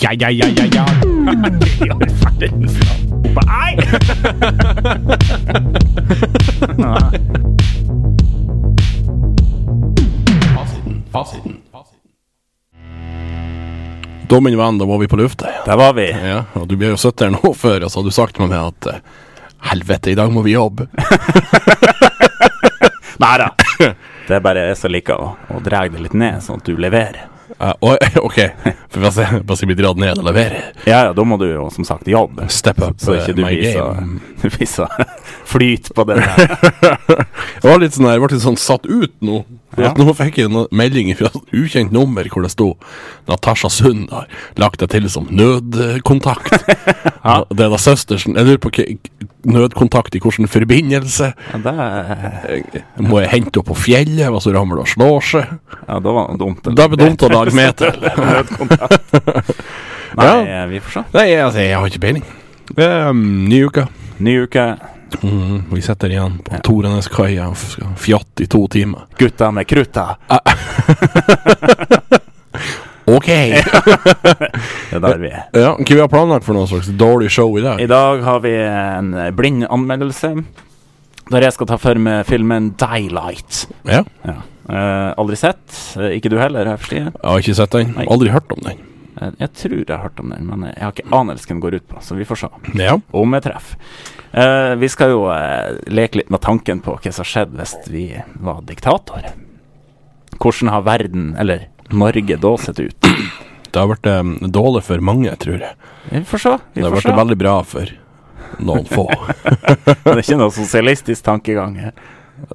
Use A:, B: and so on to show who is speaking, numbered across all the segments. A: Ja, ja, ja, ja, ja. Ja, faen. Nei!
B: Fasiten. Fasiten. Fasiten.
C: Da, min venn, da var vi på lufta.
D: Der var vi.
C: Ja, og du ble jo sittet her nå før, og så hadde du sagt med meg at eh, Helvete, i dag må vi jobbe.
D: Nei da. Det er bare jeg som liker å, å dra det litt ned, sånn at du leverer.
C: Eh, og- OK, for hvis jeg, hvis jeg blir dratt ned og leverer
D: Ja, ja, da må du jo som sagt jobbe.
C: Step up
D: Så ikke
C: eh,
D: du
C: my
D: viser,
C: game.
D: du viser flyt på den her.
C: Jeg var litt sånn der, jeg ble litt sånn satt ut nå. For
D: Ja.
C: at Nå fikk jeg en melding fra et ukjent nummer hvor det sto Natasha Sund har lagt deg til som nødkontakt. Og Det er da søstersen Jeg lurer på hva nødkontakt i hvilken forbindelse.
D: Ja, det, er-
C: Må jeg hente henne på fjellet hvis hun ramler og slår seg?
D: ja, da var det dumt. eller?
C: Da blir det dumt å lage med til.
D: Nei,
C: Ja.
D: eh, vi får se.
C: Nei, jeg, altså, jeg har ikke peiling. Det er um, ny uke.
D: Ny uke.
C: Mhm, Vi sitter igjen på Toreneskaia og f- skal fjatte i to timer.
D: Gutta med krutta.
C: OK! ja,
D: Det er der vi er.
C: Hva vi har planlagt for noe slags dårlig show i dag?
D: I dag har vi en eh, blind anmeldelse. Der jeg skal ta for meg filmen 'Daylight'.
C: Ja,
D: Ja. Eh, aldri sett. Eh, ikke du heller, har jeg forstått.
C: Jeg har ikke sett den.
D: Nei.
C: Aldri hørt om den.
D: Eh, jeg tror jeg har hørt om den, men jeg har ikke anelse hva den går ut på, så vi får se
C: Ja.
D: om jeg treffer. Eh, vi skal jo eh, leke litt med tanken på hva som skjedde hvis vi var diktator. Hvordan har verden, eller Norge, da sett ut?
C: Det har vært um, dårlig for mange, tror jeg.
D: Vi får se. Vi
C: Det har
D: får
C: vært
D: se.
C: veldig bra for noen få.
D: Det er ikke noe sosialistisk tankegang her.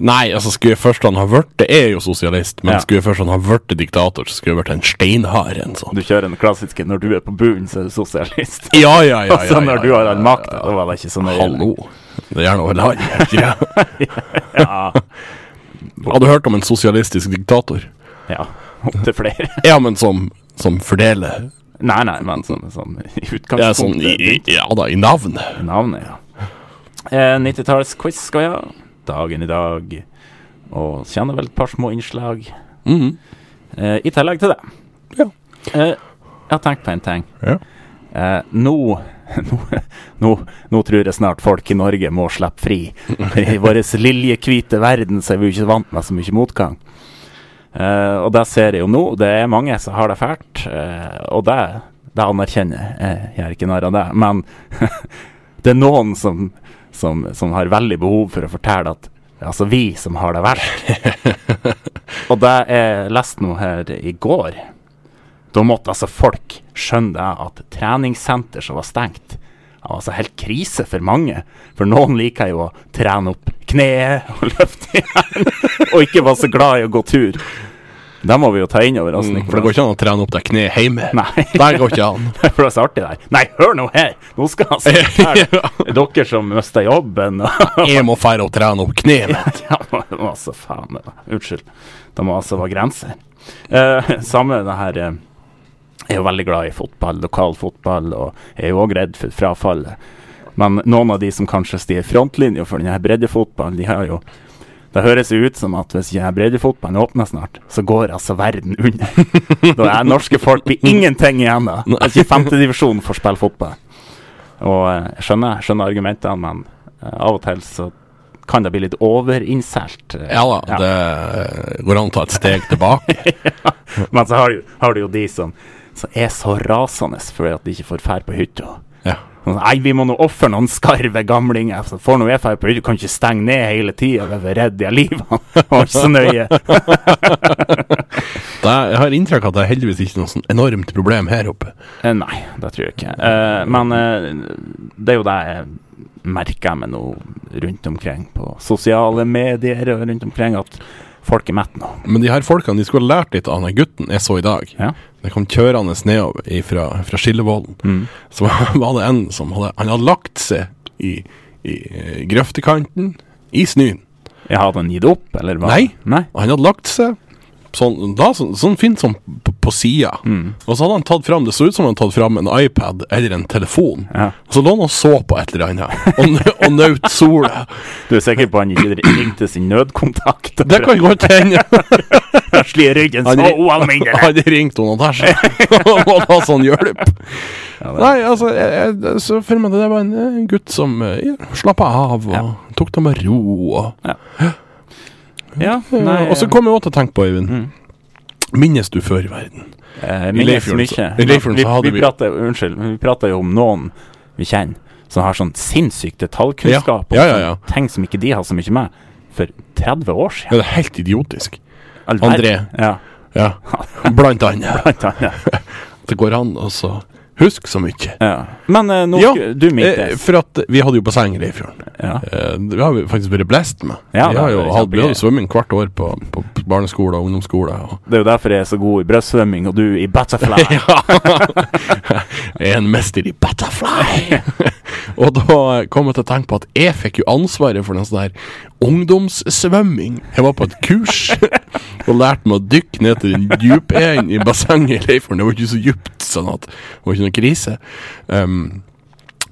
C: Nei, altså skulle jeg først han ha vært det, er jo sosialist, men
D: Ja.
C: skulle jeg først han ha vært diktator, så skulle jeg vært en steinhard en sånn.
D: Du kjører den klassiske 'når du er på bunnen, så er du sosialist'.
C: Ja, ja, ja. ja,
D: Og så
C: ja,
D: når du
C: ja,
D: har all
C: ja,
D: makt,
C: ja.
D: da var det ikke så nøye.
C: Hallo. Det er noe land. er det ikke det?
D: Ja,
C: Har du hørt om en sosialistisk diktator?
D: ja. Opptil flere.
C: Ja, men som, som fordeler
D: Nei, nei, men sånn, sånn i
C: ja, sånn, i,
D: utgangspunktet
C: i, ja da, i navnet.
D: Navnet, ja. Eh, 90-tallsquiz skal vi ha. Dagen i dag. Og kjenner vel et par små innslag.
C: Mhm.
D: Eh, I tillegg til det.
C: Ja.
D: Eh, jeg har tenkt på en ting.
C: Ja.
D: Eh, nå, nå, nå, nå tror jeg snart folk i Norge må slippe fri. For I vår liljehvite verden så er vi jo ikke vant med så mye motgang. Eh, og det ser jeg jo nå. Det er mange som har det fælt, eh, og det, det anerkjenner jeg. Jeg gjør ikke narr av det. Men det er noen som, som, som har veldig behov for å fortelle at det er altså vi som har det verst. og det jeg leste nå her i går, da måtte altså folk skjønne det at treningssenter som var stengt, det var altså helt krise for mange. For noen liker jo å trene opp kneet og løfte igjen, og ikke var så glad i å gå tur. Det må vi jo ta inn over oss.
C: Mm, For det går ikke an å trene opp det kneet hjemme.
D: Nei.
C: Det går ikke an.
D: For det er så artig der. Nei, hør nå her! Nå skal altså her, Dere som mista jobben og
C: Jeg må fære og trene opp kneet. mitt.
D: Ja, men altså, faen. det var- Unnskyld. Det må altså være grenser. Eh, samme det her eh, Jeg er jo veldig glad i fotball, lokal fotball, og jeg er jo òg redd for frafallet. Men noen av de som kanskje stiger i frontlinja for denne breddefotballen, de har jo det høres jo ut som at hvis ikke breddefotballen åpner snart, så går altså verden under. Da er norske folk blir ingenting igjen da. Altså, Hvis ikke femtedivisjon får spille fotball. Og eh, jeg skjønner, jeg skjønner argumentene, men eh, av og til så kan det bli litt overinnseilt. eh,
C: Ja da,
D: ja.
C: det går an å ta et steg tilbake.
D: Men så har du, har du jo de som, som er så rasende fordi at de ikke får fær på hytta.
C: Ja.
D: Sånn, Nei, vi må nå ofre noen skarve gamlinger. Så får nå jeg fær på hytta, kan ikke stenge ned hele tida. Jeg er redd jeg har livet. Og ikke så nøye.
C: Det, jeg har inntrykk av at det er heldigvis ikke noe sånn enormt problem her oppe.
D: Eh, Nei, det tror jeg ikke. Eh, men eh, det er jo det jeg merker meg nå rundt omkring på sosiale medier og rundt omkring, at folk er mette nå.
C: Men de her folkene de skulle ha lært litt av den gutten jeg så i dag.
D: Ja.
C: Det kom kjørende nedover ifra, fra Skillevollen.
D: Mm.
C: Så var det en som hadde, han hadde lagt seg i, i eh, grøftekanten i snøen.
D: Jeg hadde han gitt opp, eller hva?
C: Nei.
D: Nei.
C: Og han hadde lagt seg, sånn, da, sånn, sånn fint som på, på sida.
D: Mm.
C: Og så hadde han tatt fram Det så ut som han hadde tatt fram en iPad eller en telefon.
D: Ja.
C: Og så lå han og så på et eller annet, og, nø- og nøt sola.
D: Du er sikker på han ikke ringte sin nødkontakt?
C: Det kan godt hende.
D: Sli ryggen
C: Han
D: så
C: ri-
D: ualminnelig!
C: Han ringte hun og Tasha og måtte ha sånn hjelp.
D: det-
C: Nei, altså, jeg, jeg, så for meg det der var en eh, gutt som eh, ja, slappa av og
D: Ja.
C: tok det med ro. Og,
D: Ja, Mm.
C: ja, og så kom jeg også til å tenke på, Øyvind. Minnes du før i verden?
D: eh,
C: I
D: minnes
C: Leifjorden så-
D: mye.
C: i Leifjorden
D: Vi,
C: så hadde
D: vi,
C: vi-
D: prater, unnskyld, men vi prater jo om noen vi kjenner som har sånn sinnssyk detaljkunnskap
C: Ja, ja, ja, ja.
D: om ting som ikke de har så mye med, for 30 år
C: Ja,
D: siden.
C: det er helt idiotisk.
D: All
C: André.
D: verden. Ja.
C: Ja. Blant annet.
D: Blant annet.
C: Det går an å så huske så mye.
D: Ja. Men eh, nå
C: Ja,
D: skulle du
C: Eh,
D: mintes.
C: for at vi hadde jo basseng i Leifjorden.
D: Ja.
C: Eh, det har vi faktisk vært blest med.
D: Ja,
C: vi
D: det
C: har
D: er
C: jo
D: kjempegøy.
C: hatt vi hadde svømming hvert år på, på barneskole og ungdomsskole. Og
D: Det er jo derfor jeg er så god i brystsvømming, og du i butterfly.
C: Ja. Jeg er en mester i butterfly. og da kom jeg til å tenke på at jeg fikk jo ansvaret for noe sånn der ungdomssvømming. Jeg var på et kurs og lærte meg å dykke ned til den dype enden i bassenget i Leifjorden. Det var ikke så dypt, sånn at det var ikke noe krise. Um,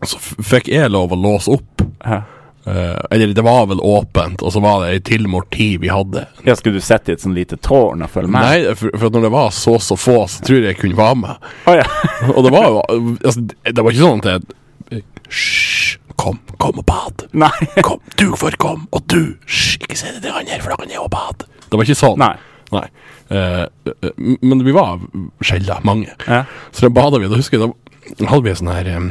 C: så f- fikk jeg lov å låse opp.
D: Ja.
C: Eh, eller det var vel åpent, og så var det ei tilmålt tid vi hadde.
D: Ja, skulle du sitte i et sånn lite tårn og følge med?
C: Nei, for, for at når det var så så få, så tror jeg jeg kunne være med.
D: Å, ja.
C: Og det var jo altså, Det var ikke sånn at jeg Hysj, kom, kom og bad.
D: Nei.
C: Kom, du får komme, og du Hysj, ikke si det til han her, for da kan jeg òg bade. Det var ikke sånn.
D: Nei.
C: Nei. Eh, eh, men vi var sjelda, mange.
D: Ja.
C: Så da bada vi. Da husker jeg da hadde vi en sånn her em,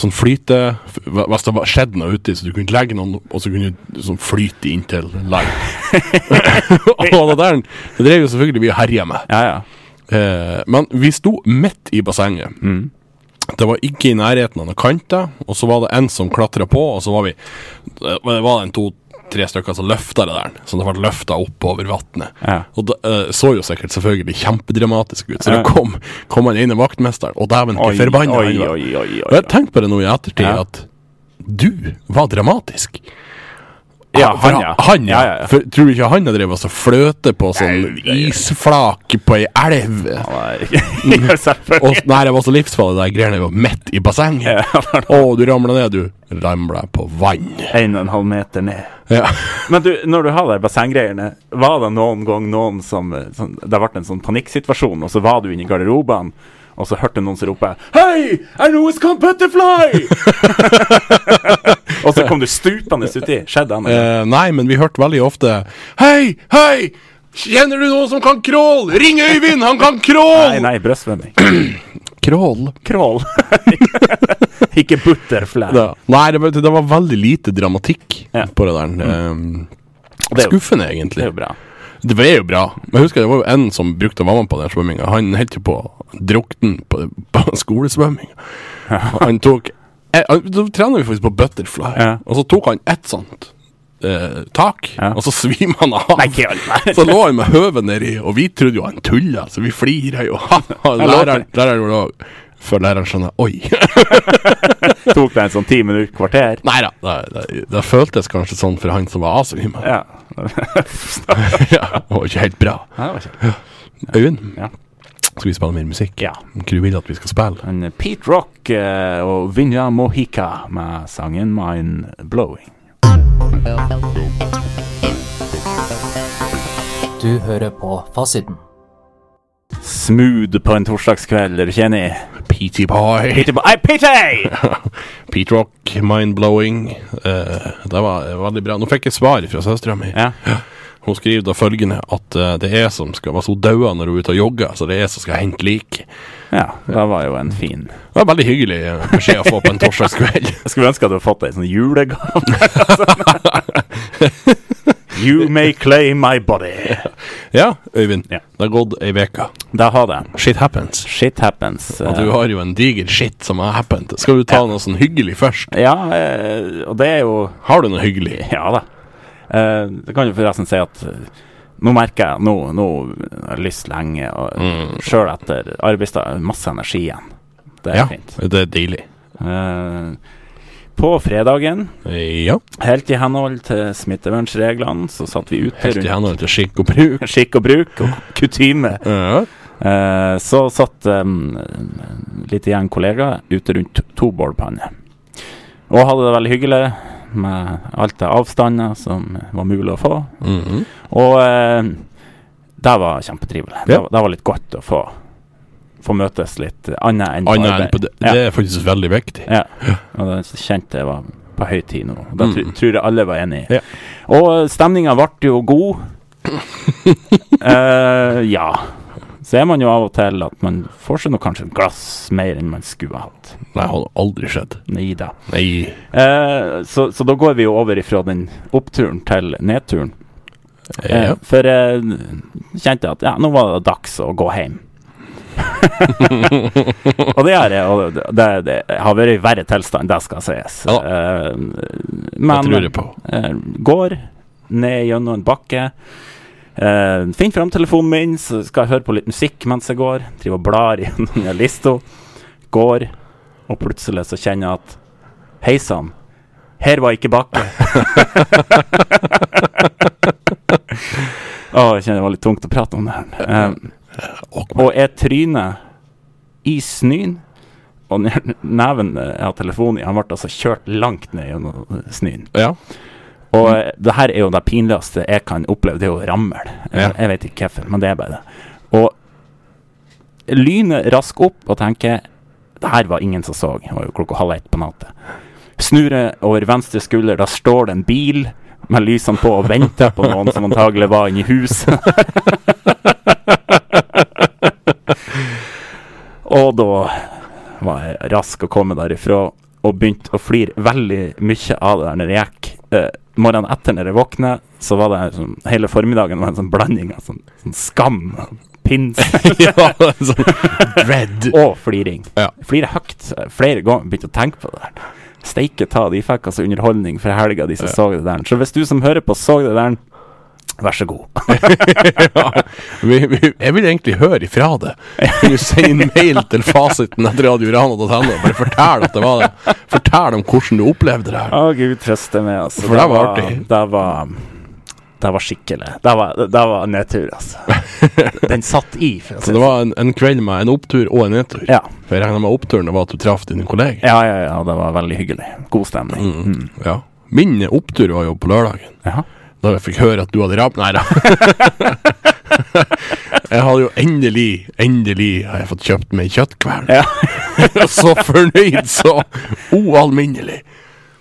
C: Sånn flyte f- hva- Hvis det var- skjedde noe uti, så du kunne legge noen, og så kunne du sånn flyte inntil land. og det der det drev jo selvfølgelig vi og herja med.
D: Ja, ja.
C: Eh, men vi sto midt i bassenget.
D: Mm.
C: Det var ikke i nærheten av noen kanter, og så var det en som klatra på, og så var vi Det var en to-tre stykker som løfta det der, så det ble løfta opp over vannet.
D: Ja.
C: Og det eh, så jo sikkert selvfølgelig kjempedramatisk ut, så
D: Ja.
C: da kom, kom han ene vaktmesteren, og dæven,
D: Oi,
C: hvor forbanna
D: oi,
C: han var.
D: oi, oi, oi,
C: Og jeg tenkte på det nå i ettertid,
D: Ja.
C: at du var dramatisk.
D: Ja,
C: for
D: han, ja.
C: Han, ja.
D: Ja, ja, ja.
C: For, tror du ikke han har drevet og fløte på sånn
D: Nei, det-
C: isflak på ei elv?
D: Nei, ja, selvfølgelig.
C: Og s- nei, det var så livsfarlig, de greiene var midt i bassenget.
D: Ja, for
C: Å, du ramla ned, du. Ramla på vann.
D: En og en halv meter ned.
C: Ja.
D: Men du, når du har de bassenggreiene, var det noen gang noen som, eh, sånn, Det ble en sånn panikksituasjon, og så var du inne i garderoben, og så hørte noen som rope Hei, I know it's called butterfly! og så kom du stupende uti. Skjedde det?
C: Eh, nei, men vi hørte veldig ofte Hei, hei! Kjenner du noen som kan crawl? Ring Øyvind, han kan
D: Nei,
C: crawl!
D: nei, brystsvømming.
C: Crawl?
D: Crawl. Ikke butterfly.
C: Ja. Nei, det, var- det var veldig lite dramatikk
D: Ja. Mm.
C: på det der. Eh,
D: Det er jo-
C: skuffende, egentlig.
D: Det er jo bra.
C: Det var jo bra. Men jeg husker det var jo en som brukte å være med på den svømminga. Han holdt jo på å drukne på, på skolesvømminga. Han tok eh, han- Da trener vi faktisk på butterfly,
D: Ja.
C: og så tok han ett sånt eh, tak,
D: Ja.
C: og så svimte han av.
D: Nei, ikke all
C: så lå han med høvet nedi, og vi trodde jo han tulla, så vi flira jo. læreren, læreren gjorde det òg. Før læreren skjønner Oi!
D: Tok det en sånn ti minutter, kvarter.
C: Nei da. Det, det, det føltes kanskje sånn for han som var avsvima. Ja.
D: Ja.
C: det var ikke helt bra.
D: Ja, det var kjekt.
C: Øyvind,
D: Ja.
C: skal vi spille mer musikk?
D: ja.
C: Hva du vil at vi skal spille?
D: En Pete Rock eh, og Vinja Mohica med sangen 'Mind Blowing'.
E: Du hører på Fasiten.
D: Smooth på en torsdagskveld, er du ikke enig?
C: PT Boy.
D: Peter Bo- Ei, Peter!
C: Pete Rock, Mindblowing. Eh, det var eh, veldig bra. Nå fikk jeg svar fra søstera mi.
D: Ja.
C: Hun skriver da følgende at eh, det er som skal være så daua når hun er ute og jogger, så det er som skal hente lik.
D: ja, det var jo en fin
C: Det var veldig hyggelig eh, beskjed å få på en torsdagskveld.
D: Jeg skulle ønske at du hadde fått ei sånn julegave. you may claim my body.
C: ja, Øyvind.
D: Ja.
C: Det har gått ei uke.
D: Der har det.
C: Shit happens.
D: Shit happens.
C: Og du har jo en diger shit som har happened. Skal du ta noe sånn hyggelig først?
D: Ja, eh, og det er jo
C: Har du noe hyggelig?
D: Ja da. Eh, det kan jo forresten si at eh, nå merker jeg Nå, nå har jeg lyst lenge, og
C: Mm.
D: sjøl etter arbeidsdag masse energi igjen. Det er
C: Ja,
D: fint.
C: det er deilig.
D: Eh, På fredagen,
C: Ja.
D: helt i henhold til smittevernreglene, så satt vi ute
C: Helt i
D: rundt
C: henhold til skikk og bruk.
D: skikk og bruk og kutyme.
C: Ja.
D: Eh, så satt um, en lite gjeng kollegaer ute rundt to bålpanner. Og hadde det veldig hyggelig med alt av avstander som var mulig å få.
C: Mhm.
D: Og eh, det var kjempetrivelig. Det,
C: Ja.
D: var- det var litt godt å få, få møtes litt annet enn på
C: Annet enn
D: arbeid.
C: på det.
D: Ja.
C: Det er faktisk veldig viktig.
D: Ja, og det kjente jeg var på høy tid nå. Det tr tror jeg alle var enig i.
C: Mm. Ja.
D: Og stemninga ble jo god. Eh, ja. Så er man jo av og til at man får seg nå kanskje et glass mer enn man skulle ha hatt.
C: Nei, har aldri skjedd.
D: Nei da.
C: Nei.
D: Eh, så, så da går vi jo over ifra den oppturen til nedturen. Eh,
C: Ja.
D: For eh, kjente jeg at ja, nå var det dags å gå hjem. og det er det, og det, det har vært i verre tilstand, det skal sies.
C: Ja.
D: Eh,
C: Det
D: men
C: tror jeg på.
D: eh, går ned gjennom en bakke. Uh, Finn fram telefonen min, så skal jeg høre på litt musikk mens jeg går. Driver og blar gjennom den lista. Går, og plutselig så kjenner jeg at Hei sann, her var ikke bakke. Å, jeg kjenner det var litt tungt å prate om det her. Eh, og jeg tryner i snøen. Og ne- neven eh, jeg har telefonen i, han ble altså kjørt langt ned gjennom eh, snøen.
C: Ja.
D: Og eh, det her er jo det pinligste jeg kan oppleve, det er å ramle.
C: Ja.
D: Jeg vet ikke hvorfor, men det er bare det. Og lynet rask opp og tenker Det her var ingen som så. Det var jo klokka halv ett på natta. Snurrer over venstre skulder, da står det en bil med lysene på og venter på noen som antagelig var inne i huset. og da var jeg rask å komme derifra og begynte å flire veldig mye av det der når jeg gikk. Eh, morgenen etter når jeg våkna, så var det sånn, hele formiddagen var en sånn blanding av sånn, sånn skam, pins
C: ja sånn dread.
D: og fliring.
C: Ja.
D: Flire høyt eh, flere ganger, begynte å tenke på det der. Steike ta, de fikk altså underholdning for helga, de som så det der. Så hvis du som hører på så det der, vær så god.
C: Vi, vi, jeg vil egentlig høre ifra det. Kan du sende en mail til fasiten etter radiorana.no og bare fortell at det var det? Fortell om hvordan du opplevde det her.
D: Å, gud trøste meg, altså.
C: For det var artig.
D: Det var, det var skikkelig. Det var, det var nedtur, altså. Den satt i. For å si
C: Så det var en, en kveld med en opptur og en nedtur.
D: Ja.
C: For jeg regner med oppturen var at du traff dine kolleger.
D: Ja, ja, ja, det var veldig hyggelig. God stemning. Mm.
C: Ja. Min opptur var jo på lørdagen.
D: Ja.
C: Da jeg fikk høre at du hadde rap... Nei da. Jeg hadde jo endelig, endelig har jeg fått kjøpt meg kjøttkvern.
D: Ja.
C: så fornøyd, så ualminnelig.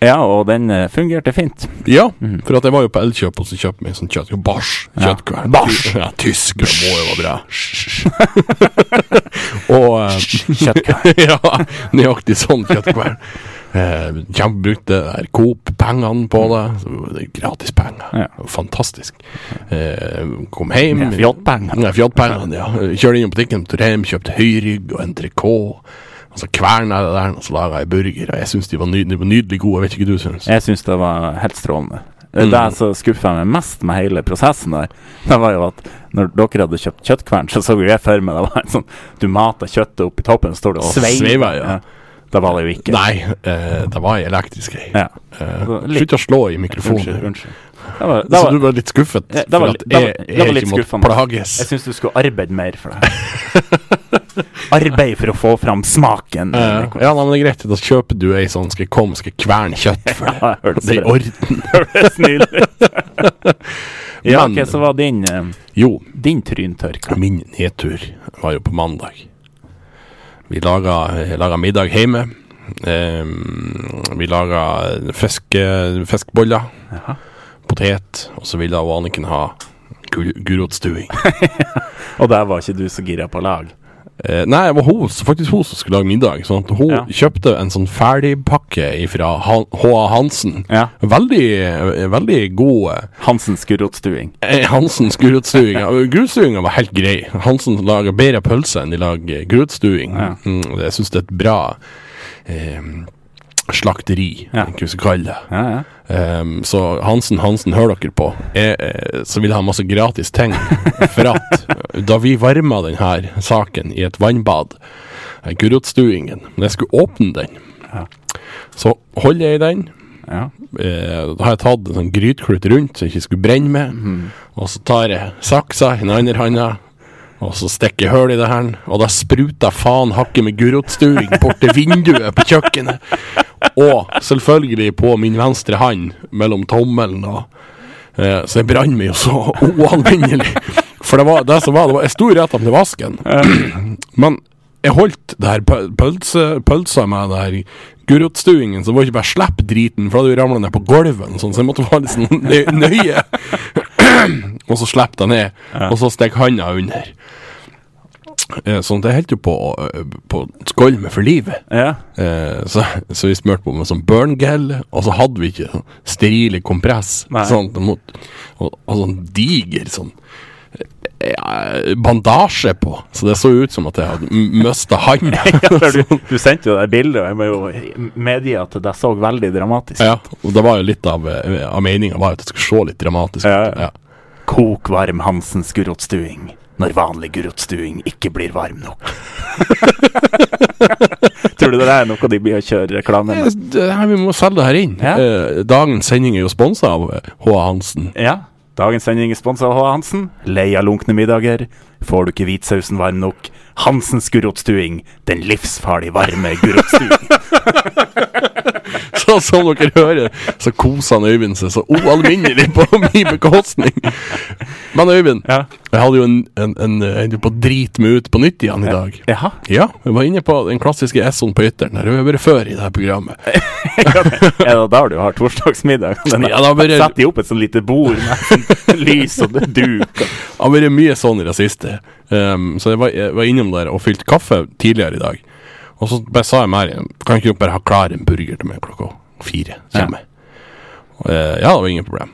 D: ja, og den eh, fungerte fint.
C: Ja,
D: Mm.
C: for at jeg var jo på Elkjøp og så kjøpte meg sånn kjøtt. Bars.
D: Ja.
C: Kjøttkvern.
D: Bars.
C: Ja, tysker må jo være bra. og eh,
D: Kjøttkvern.
C: Ja, nøyaktig sånn kjøttkvern. Eh, Kjempe brukte der Coop-pengene på det. Så det er Gratis penger.
D: Ja.
C: Fantastisk. Eh, kom hjem.
D: Ja, fjottpenger.
C: Ja, fjottpengene, ja. Kjørte inn på butikken, tur hjem, kjøpte høyrygg og entrecôte. Og så kverna jeg det der, og så laga jeg burger. Og jeg syns de var, ny, de var nydelig gode. Jeg vet ikke hva du syns.
D: Jeg syns det var helt strålende. Eh,
C: Mm.
D: Det som skuffa meg mest med hele prosessen der, det var jo at når dere hadde kjøpt kjøttkvern, så så jo jeg for meg det var en sånn Du mater kjøttet opp i toppen, så står det og
C: Og sveiver, ja.
D: Det var det jo ikke.
C: Nei, eh, det var ei elektrisk greie.
D: Ja.
C: Eh,
D: Så litt-
C: Slutt å slå i mikrofonen.
D: Unnskyld. unnskyld. Det var, det
C: Så du
D: var,
C: var litt skuffet?
D: Ja, det var
C: for
D: litt-
C: at
D: det var-
C: jeg,
D: det
C: jeg
D: var litt
C: ikke måtte
D: skuffende.
C: plages?
D: jeg syns du skulle arbeide mer for det. Arbeid for å få fram smaken.
C: Eh, ja, nei, men det er greit. Da kjøper du ei sånn 'skal jeg komme, skal jeg kverne kjøtt' for det.
D: Ja, jeg hørte
C: Det er i
D: det.
C: orden.
D: Høres nydelig ut. Ja,
C: Men-
D: ok, så var din, eh,
C: Jo,
D: din tryntørka.
C: min nedtur var jo på mandag. Vi laga, jeg laga middag hjemme. Ehm, vi laga fiske, fiskeboller, potet, og så ville hun Anniken ha gur- gulrotstuing.
D: Og der var ikke du så gira på lag.
C: Eh, nei, det var hun, s- faktisk hun som skulle lage middag. Sånn at hun
D: Ja.
C: kjøpte en sånn ferdigpakke fra Han- H.A. Hansen.
D: Ja.
C: Veldig, eh, veldig god
D: Hansens gulrotstuing.
C: eh, Hansens gulrotstuinga. Gulrotstuinga var helt grei. Hansen lager bedre pølse enn de lager gulrotstuing.
D: Ja.
C: Mm, jeg syns det er et bra eh, slakteri,
D: Ja.
C: hva vi skal kalle det.
D: Ja, ja.
C: Ehm, så Hansen, Hansen, hør dere på. Jeg, eh, så vil jeg ha masse gratis ting. For at da vi varma denne saken i et vannbad, eh, gulrotstuingen Når jeg skulle åpne den, Så holder jeg i den.
D: Ja.
C: Eh, da har jeg tatt en sånn grytklut rundt så jeg ikke skulle brenne med. Og så tar jeg saksa i den andre handa, og så stikker jeg hull i det her. Og da spruter faen hakket med gulrotstuing bort til vinduet på kjøkkenet. Og selvfølgelig på min venstre hand, mellom tommelen og eh, Så jeg brant meg jo så uanvinnelig. For det var det som var, det var Jeg sto rett attmed vasken, men jeg holdt det her pøl- pølse, pølsa med det her gulrotstuingen, så det var ikke bare slipp driten, for da hadde vi ramla ned på gulvet, og sånn, så jeg måtte være litt sånn nø- nøye. og så slapp jeg ned, og så stakk handa under. Eh, Sånn at jeg holdt jo på å ø, på å skålme for livet.
D: ja.
C: Eh, Så, så vi smurte på med sånn burn-gel, og så hadde vi ikke sånn sterile kompress.
D: Nei.
C: Sånn, at det måtte- og, og sånn diger sånn eh, ja, bandasje på, så det så ut som at jeg hadde mista handa.
D: Ja, for du, du sendte jo det bildet, og jeg må jo medgi at det så veldig dramatisk
C: Ja, og det var jo litt av, eh, av meninga var jo at det skulle se litt dramatisk ut.
D: Ja, ja.
C: Ja.
D: Kok varm Hansens gulrotstuing når vanlig gulrotstuing ikke blir varm nok. Tror du det er noe de blir å kjøre reklame med?
C: Det- det Eh, her, Vi må selge det her inn.
D: Ja.
C: Eh, Dagens sending er jo sponsa av eh, H.A. Hansen.
D: Ja. Dagens sending er sponsa av H. Hansen. Lei av lunkne middager. Får du ikke hvitsausen varm nok? Hansens gulrotstuing. Den livsfarlig varme gulrotstuing.
C: Så som dere hører, så koser han Øyvind seg så ualminnelig på min bekostning. Men Øyvind,
D: Ja.
C: jeg hadde jo en, en, en jeg holdt jo på å drite meg ut på nytt igjen i dag.
D: Jaha.
C: Ja, jeg var inne på den klassiske S-en på ytteren. her. Det har vært før i det her programmet.
D: Er det der du har torsdagsmiddag? Den-
C: Ja, da bare-
D: Setter de opp et sånn lite bord med sånn lys og duk? og-
C: Det har vært mye sånn i det siste. Ehm, så jeg var, jeg var innom der og fylte kaffe tidligere i dag. Og så bare sa jeg mer Kan ikke dere bare ha klar en burger til meg klokka fire? Kommer. Og, eh, ja, det var ingen problem.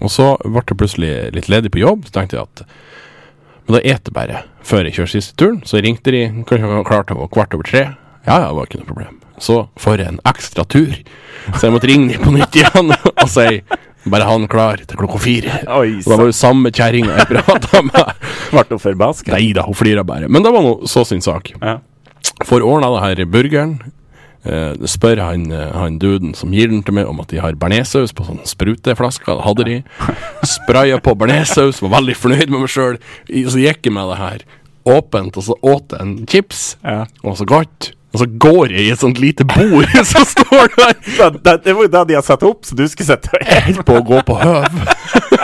C: Og så ble det plutselig litt ledig på jobb. Så tenkte jeg at Men da et jeg bare før jeg kjører siste turen. Så ringte de kanskje var klar til å være kvart over tre. Ja, ja, det var ikke noe problem. Så får jeg en ekstra tur. Så jeg måtte ringe dem på nytt igjen og si bare ha den klar til klokka fire.
D: Oi,
C: Og da var jo samme kjerringa jeg prata med.
D: Ble hun forbaska?
C: Nei da, hun flira bare. Men det var nå så sin sak.
D: Ja.
C: Får ordna det her burgeren. Eh, spør han, eh, han duden som gir den til meg, om at de har bearnéssaus på sånne spruteflasker. Det hadde de. Spraya på bearnéssaus, var veldig fornøyd med meg sjøl. Så gikk jeg med det her åpent, og så åt jeg en chips.
D: Ja.
C: Og så godt. Og så går jeg i et sånt lite bord, så står det der
D: Det, det, det var jo det de har satt opp, så du skulle sette
C: jeg er helt på å gå på høv.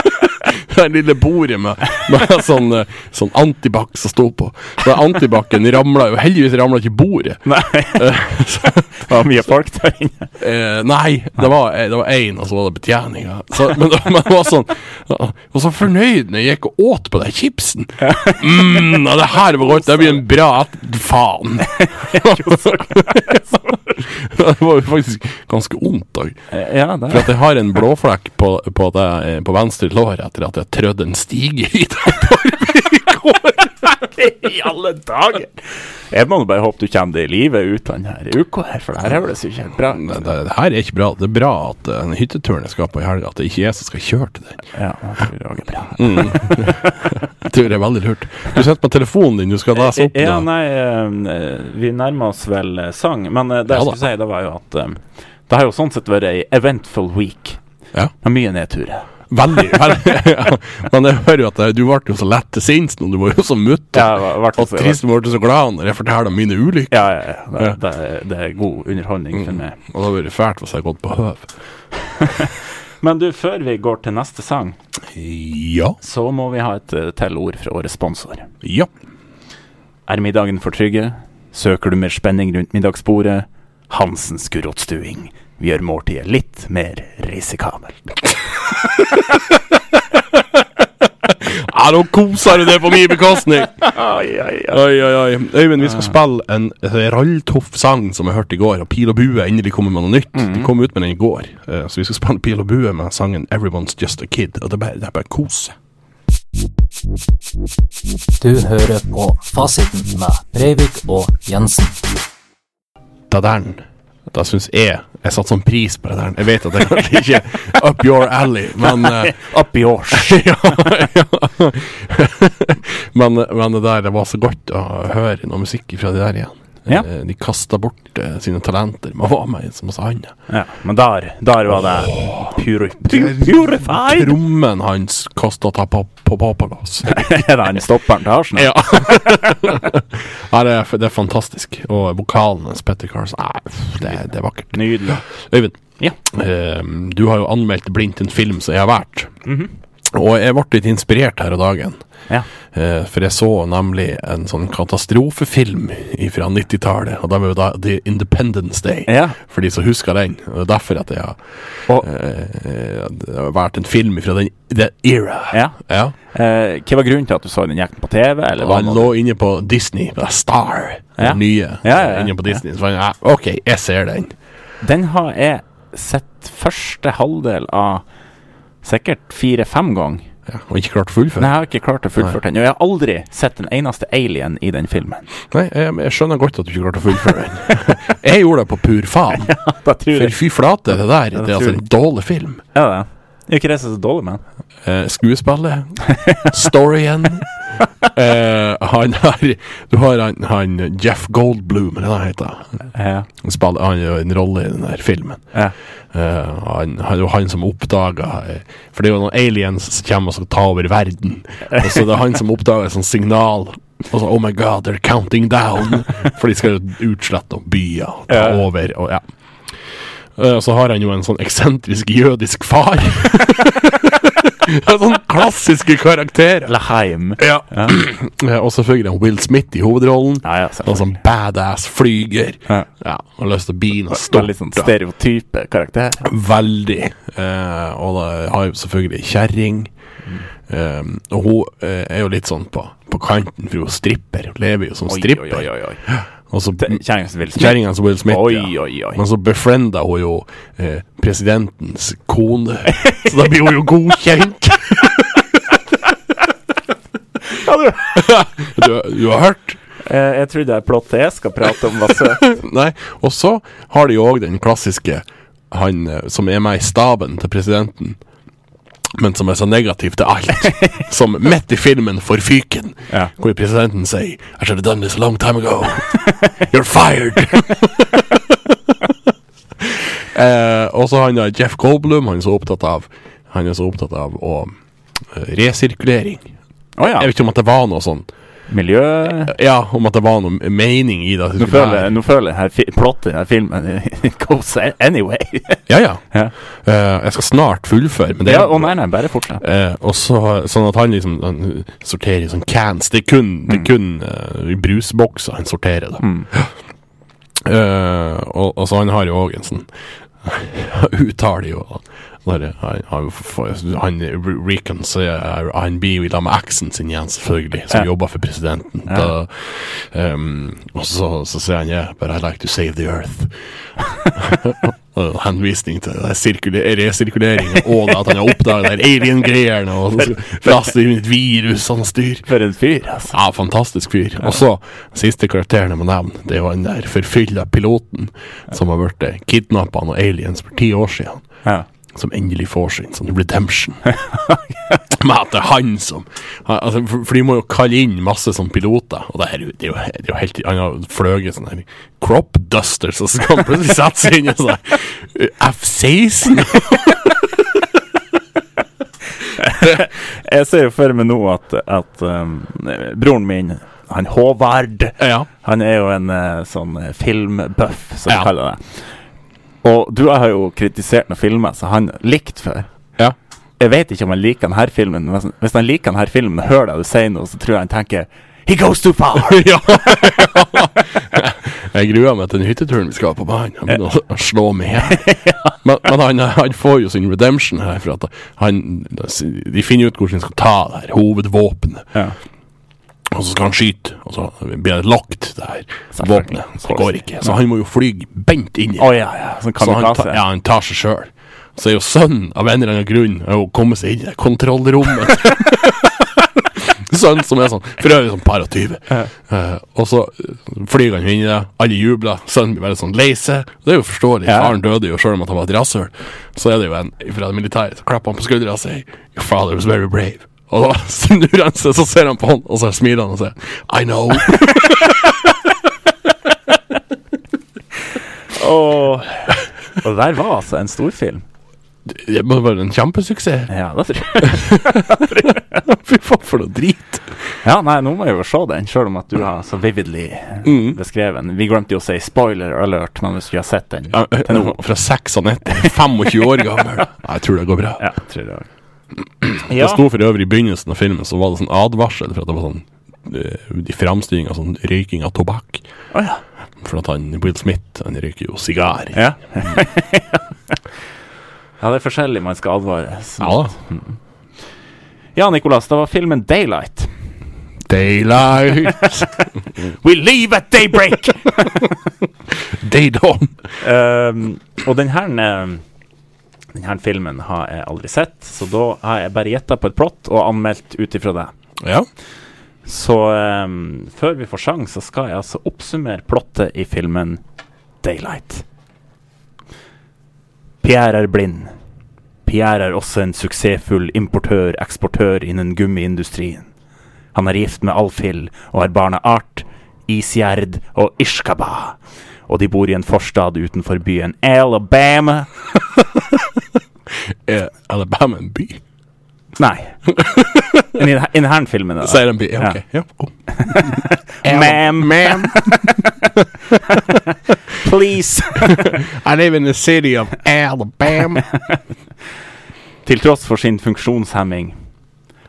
C: Det her lille bordet med, med sånn, eh, sånn antibac som sto på. Så Antibac-en ramla jo Heldigvis ramla ikke bordet.
D: Nei,
C: Eh, så,
D: det var mye folk der inne.
C: eh, nei, det var eh, det var én, og så var det betjeninga. Så- Men, det- men det var sånn Jeg var så fornøyd når jeg gikk og åt på den chipsen. Mm, ja, det her var godt. Det blir en bra et- Faen. Det var jo faktisk ganske vondt òg.
D: Ja, det
C: For at jeg har en blåflekk på, på, at jeg- eh, på venstre lår etter at jeg trødde en stige i det.
D: I alle dager! Jeg må nå bare håpe du kommer deg i live ut denne uka her, for det her høres jo ikke helt bra
C: Det, det, det her er ikke bra. Det er bra at eh, den hytteturen jeg skal på i helga, at det ikke er jeg som skal kjøre til den.
D: Ja, det tror jeg er bra.
C: Jeg tror det er veldig lurt. Du sitter med telefonen din, du skal lese opp.
D: Ja,
C: da.
D: nei, eh, vi nærmer oss vel eh, sang, men eh, det
C: Ja
D: jeg
C: da.
D: skulle si, det var jo at eh, det har jo sånn sett vært ei eventful week.
C: Ja.
D: Det er Mye nedturer.
C: Veldig. veldig ja. Men jeg hører jo at eh, du ble jo så lett til sinns nå. Du var jo så mutt.
D: Ja, i hvert fall
C: Og
D: så-
C: trist du ble så glad når jeg forteller om mine ulykker.
D: Ja, ja, ja. Det, det, det er god underholdning for meg.
C: Og det har vært fælt hvis jeg har gått på høv.
D: Men du, før vi går til neste sang,
C: Ja.
D: så må vi ha et eh, til ord fra vår sponsor.
C: Ja.
D: Er middagen for trygge? Søker du mer spenning rundt middagsbordet? Hansens gulrotstuing. Vi gjør måltidet litt mer risikabelt.
C: Ja, nå koser du deg på min bekostning!
D: Ai, ai, ai.
C: Oi, oi, oi. Øyvind, vi skal spille en ralltoff sang som jeg hørte i går. Og Pil og bue endelig kommer med noe nytt. De kom ut med den i går. Eh, Så vi skal spille Pil og bue med sangen 'Everyone's Just a Kid'. Og det er bare, det er bare kos.
E: Du hører på Fasiten med Breivik og Jensen.
C: Da den. Da syns jeg Jeg satte sånn pris på det der. Jeg vet at det kanskje ikke er up your alley, men eh,
D: Opp i års.
C: ja, ja. men, men det der, det var så godt å høre noe musikk fra det der igjen.
D: Ja.
C: Eh, De kasta bort eh, sine talenter med å være med i så masse annet.
D: Ja, men der, der var det pure, pu- purified!
C: Trommen hans kosta ta på Papalas.
D: Den stopper etasjen.
C: Ja. Nei, det, er, det er fantastisk. Og vokalen hans, Petter Carlsen, nei, pff, det, det er vakkert.
D: Nydelig.
C: Øyvind,
D: Ja.
C: eh, du har jo anmeldt blindt en film som jeg har valgt. Og jeg ble litt inspirert her om dagen.
D: ja.
C: Eh, for jeg så nemlig en sånn katastrofefilm fra 90-tallet. Og det var jo da The Independence Day,
D: Ja.
C: for de som husker den. Og det er derfor at jeg har
D: Og
C: eh, det har vært en film fra den the era.
D: ja.
C: Ja.
D: Eh, hva var grunnen til at du så den jakten på TV? Eller
C: Og
D: var
C: han
D: det
C: lå
D: noe?
C: inne på Disney, på Star,
D: Ja.
C: den nye. eh,
D: Ja, ja, ja.
C: Inne på Disney. Så fant jeg, "Ah, OK, jeg ser den.
D: Den har jeg sett første halvdel av sikkert fire-fem ganger.
C: Ja, og ikke klart å fullføre.
D: Men jeg har ikke klart å fullføre den. Og jeg har aldri sett en eneste alien i den filmen.
C: Nei, jeg, jeg skjønner godt at du ikke klarte å fullføre den. jeg gjorde det på pur faen.
D: Da tror
C: For
D: jeg
C: fy flate, det der det er
D: tror
C: altså en dårlig film.
D: Ja, det. Det er ikke det som er så dårlig, men.
C: Eh, skuespillet, storyen eh, Han har Du har han, han Jeff Goldblum, eller hva han heter.
D: Ja.
C: Han spiller han gjør en rolle i den her filmen.
D: Ja.
C: Eh, han, han, det var han som oppdaga For det er jo noen aliens som kommer og skal ta over verden. Og så det er han som oppdaga et sånt signal. Og så, Oh my God, they're counting down! For de skal jo utslette noen byer og ta
D: Ja.
C: over. Og ja Eh, Og så har han jo en sånn eksentrisk jødisk far. Sånne klassiske karakterer.
D: Laheim.
C: Ja. Eh, og selvfølgelig han Will Smith i hovedrollen.
D: Ja, ja,
C: En sånn badass flyger.
D: Ja.
C: Ja, har lyst til å begynne å
D: Veldig sånn
C: stoppe.
D: stereotype karakter.
C: Veldig. Eh, og da har jo selvfølgelig kjerring. Eh, og hun eh, er jo litt sånn på, på kanten, for hun stripper. Hun lever jo som stripper.
D: Oi, oi, oi. oi.
C: Og så
D: Det- Kjerringa som vil spille.
C: kjerringa som Will Smith,
D: Oi,
C: ja.
D: oi, oi.
C: Men så befrienda hun jo eh, presidentens kone, så da blir hun jo godkjent.
D: Ja, du.
C: Du, du har hørt?
D: Eh, Jeg trodde jeg plottet jeg skal prate om, var søt.
C: Nei, og så har de jo òg den klassiske han eh, som er med i staben til presidenten, men som er så negativ til alt. Som midt i filmen får fyken,
D: Ja.
C: hvor presidenten sier I should have done this a long time ago. You're fired. eh, og så han der Jeff Goldblum, han er så opptatt av Han er så opptatt av å eh, resirkulering.
D: Å ja.
C: Jeg vet ikke om at det var noe sånn
D: Miljø
C: Ja, om at det var noe mening i det.
D: Nå føler jeg, nå føler jeg her fi- plottet i denne filmen goes anyway.
C: Ja, ja.
D: Ja.
C: Eh, jeg skal snart fullføre, men det
D: Ja, å nei, nei, bare fortsett.
C: Eh, og så, sånn at han liksom han sorterer i sånn cans. Det er kun,
D: Mm.
C: det er kun eh, i brusbokser han sorterer, da. Eh, og, og så han har jo òg en sånn uttaler jo når han, han, får- han Recons eh, Han blir jo i lag med eksen sin igjen, selvfølgelig, som
D: Ja.
C: jobber for presidenten. Da, ehm, og så, så sier han yeah, but I like to save the earth. Og Henvisning til det sirkule- resirkuleringen og det at han har oppdaga alien-greiene og så skal laste inn et virus og sånn styr.
D: For en fyr, altså.
C: Ja, fantastisk fyr. Og så, siste karakteren jeg må nevne, det er jo han der forfylla piloten som har blitt kidnappa av noen aliens for ti år siden.
D: Ja.
C: Som endelig får sin sånn redemption. Men at det er han som han- altså, for, for de må jo kalle inn masse sånn piloter, og det, her, er jo- det, er, jo, det er jo helt Han har fløyet sånn her crop dusters, og så skal han plutselig sette seg inn i sånn her, F-16
D: Jeg ser jo for meg nå at, at um, broren min, han Håvard
C: Ja.
D: Han er jo en eh, sånn eh, filmbuff, som
C: Ja.
D: de kaller det. Og du har jo kritisert noen filmer som han likte før.
C: Ja.
D: Jeg vet ikke om han liker denne filmen. men Hvis, hvis han liker denne filmen og hører deg du sier noe, så tror jeg han tenker He goes too far!
C: ja. Jeg gruer meg til den hytteturen vi skal på banen. Han begynner å- å slå med. Men, men han, han får jo sin redemption her, for at han, de finner ut hvordan de skal ta det her hovedvåpenet.
D: Ja.
C: Og så skal han skyte, og så blir det lockt, det her
D: Selvfølgelig.
C: våpenet. Så det går ikke. Så han må jo fly bent inn i
D: Å ja, ja. Sånn
C: så han,
D: kamikaze.
C: ta, ja, han tar seg sjøl. Så er jo sønnen av en eller annen grunn er jo kommet seg inn i det kontrollrommet. Sønn som er sånn For øvrig sånn par og tyve. Eh, og så eh, flyr han jo inn i det, alle jubler. Sønnen blir veldig sånn lei seg. Det er jo forståelig.
D: Ja.
C: Faren døde jo sjøl om at han var et rasshøl. Så er det jo en fra det militære som klapper han på skuldra og sier Your father was very brave. Og da snur han seg, så ser han på han, og så smiler han og sier I know.
D: Og, og der var altså en storfilm.
C: Det må være en kjempesuksess.
D: Ja, det tror jeg.
C: Fy faen, for noe drit!
D: Ja, nei, nå må jeg jo se den, sjøl om at du har så vividly beskrevet den. Vi glemte jo å si spoiler alert, men hvis du har sett den
C: Ja, eh, Fra 96, 25 år gammel. Ja, Jeg tror det går bra.
D: Ja, tror jeg også.
C: Det sto for øvrig i begynnelsen av filmen, så var det sånn advarsel for at det var sånn eh, de framstillinga sånn røyking av tobakk.
D: Å ja.
C: For at han Will Smith han røyker jo sigar.
D: Ja. ja, det er forskjellig man skal advares.
C: Ja da.
D: Ja, Nicolas, det var filmen 'Daylight'.
C: Daylight,
D: We leave at daybreak!
C: day dawn.
D: um, og den her um, Den her filmen har jeg aldri sett, så da har jeg bare gjetta på et plott og anmeldt ut ifra det.
C: Ja.
D: Så um, før vi får sjans, så skal jeg altså oppsummere plottet i filmen Daylight. Pierre er blind. Pierre er også en suksessfull importør-eksportør innen gummiindustrien. Han er gift med Alfhild og har barna Art, Isgjerd og Ishkaba. Og de bor i en forstad utenfor byen Alabama.
C: Er Alabama en by?
D: Nei. Men I den- i denne filmen, da.
C: Sier en by. Ja, ok. Ja. oh. kom.
D: Ma'am, please.
C: I live in the city of Alabama.
D: Til tross for sin funksjonshemming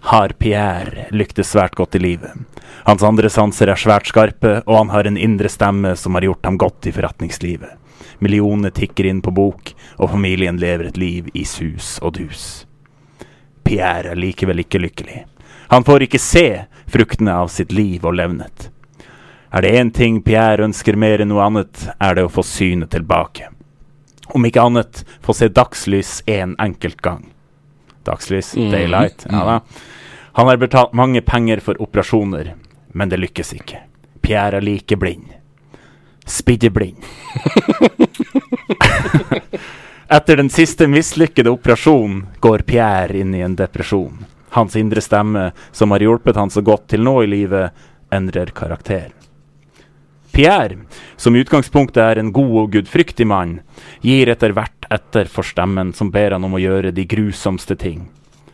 D: har Pierre lyktes svært godt i livet. Hans andre sanser er svært skarpe, og han har en indre stemme som har gjort ham godt i forretningslivet. Millionene tikker inn på bok, og familien lever et liv i sus og dus. Pierre er likevel ikke lykkelig. Han får ikke se fruktene av sitt liv og levnet. Er det én ting Pierre ønsker mer enn noe annet, er det å få synet tilbake. Om ikke annet, få se dagslys en enkelt gang. Dagslys, daylight, ja da. Han har betalt mange penger for operasjoner, men det lykkes ikke. Pierre er like blind. Spiddeblind. Etter den siste mislykkede operasjonen går Pierre inn i en depresjon. Hans indre stemme, som har hjulpet han så godt til nå i livet, endrer karakter. Pierre, som i utgangspunktet er en god og gudfryktig mann, gir etter hvert etter for stemmen som ber han om å gjøre de grusomste ting.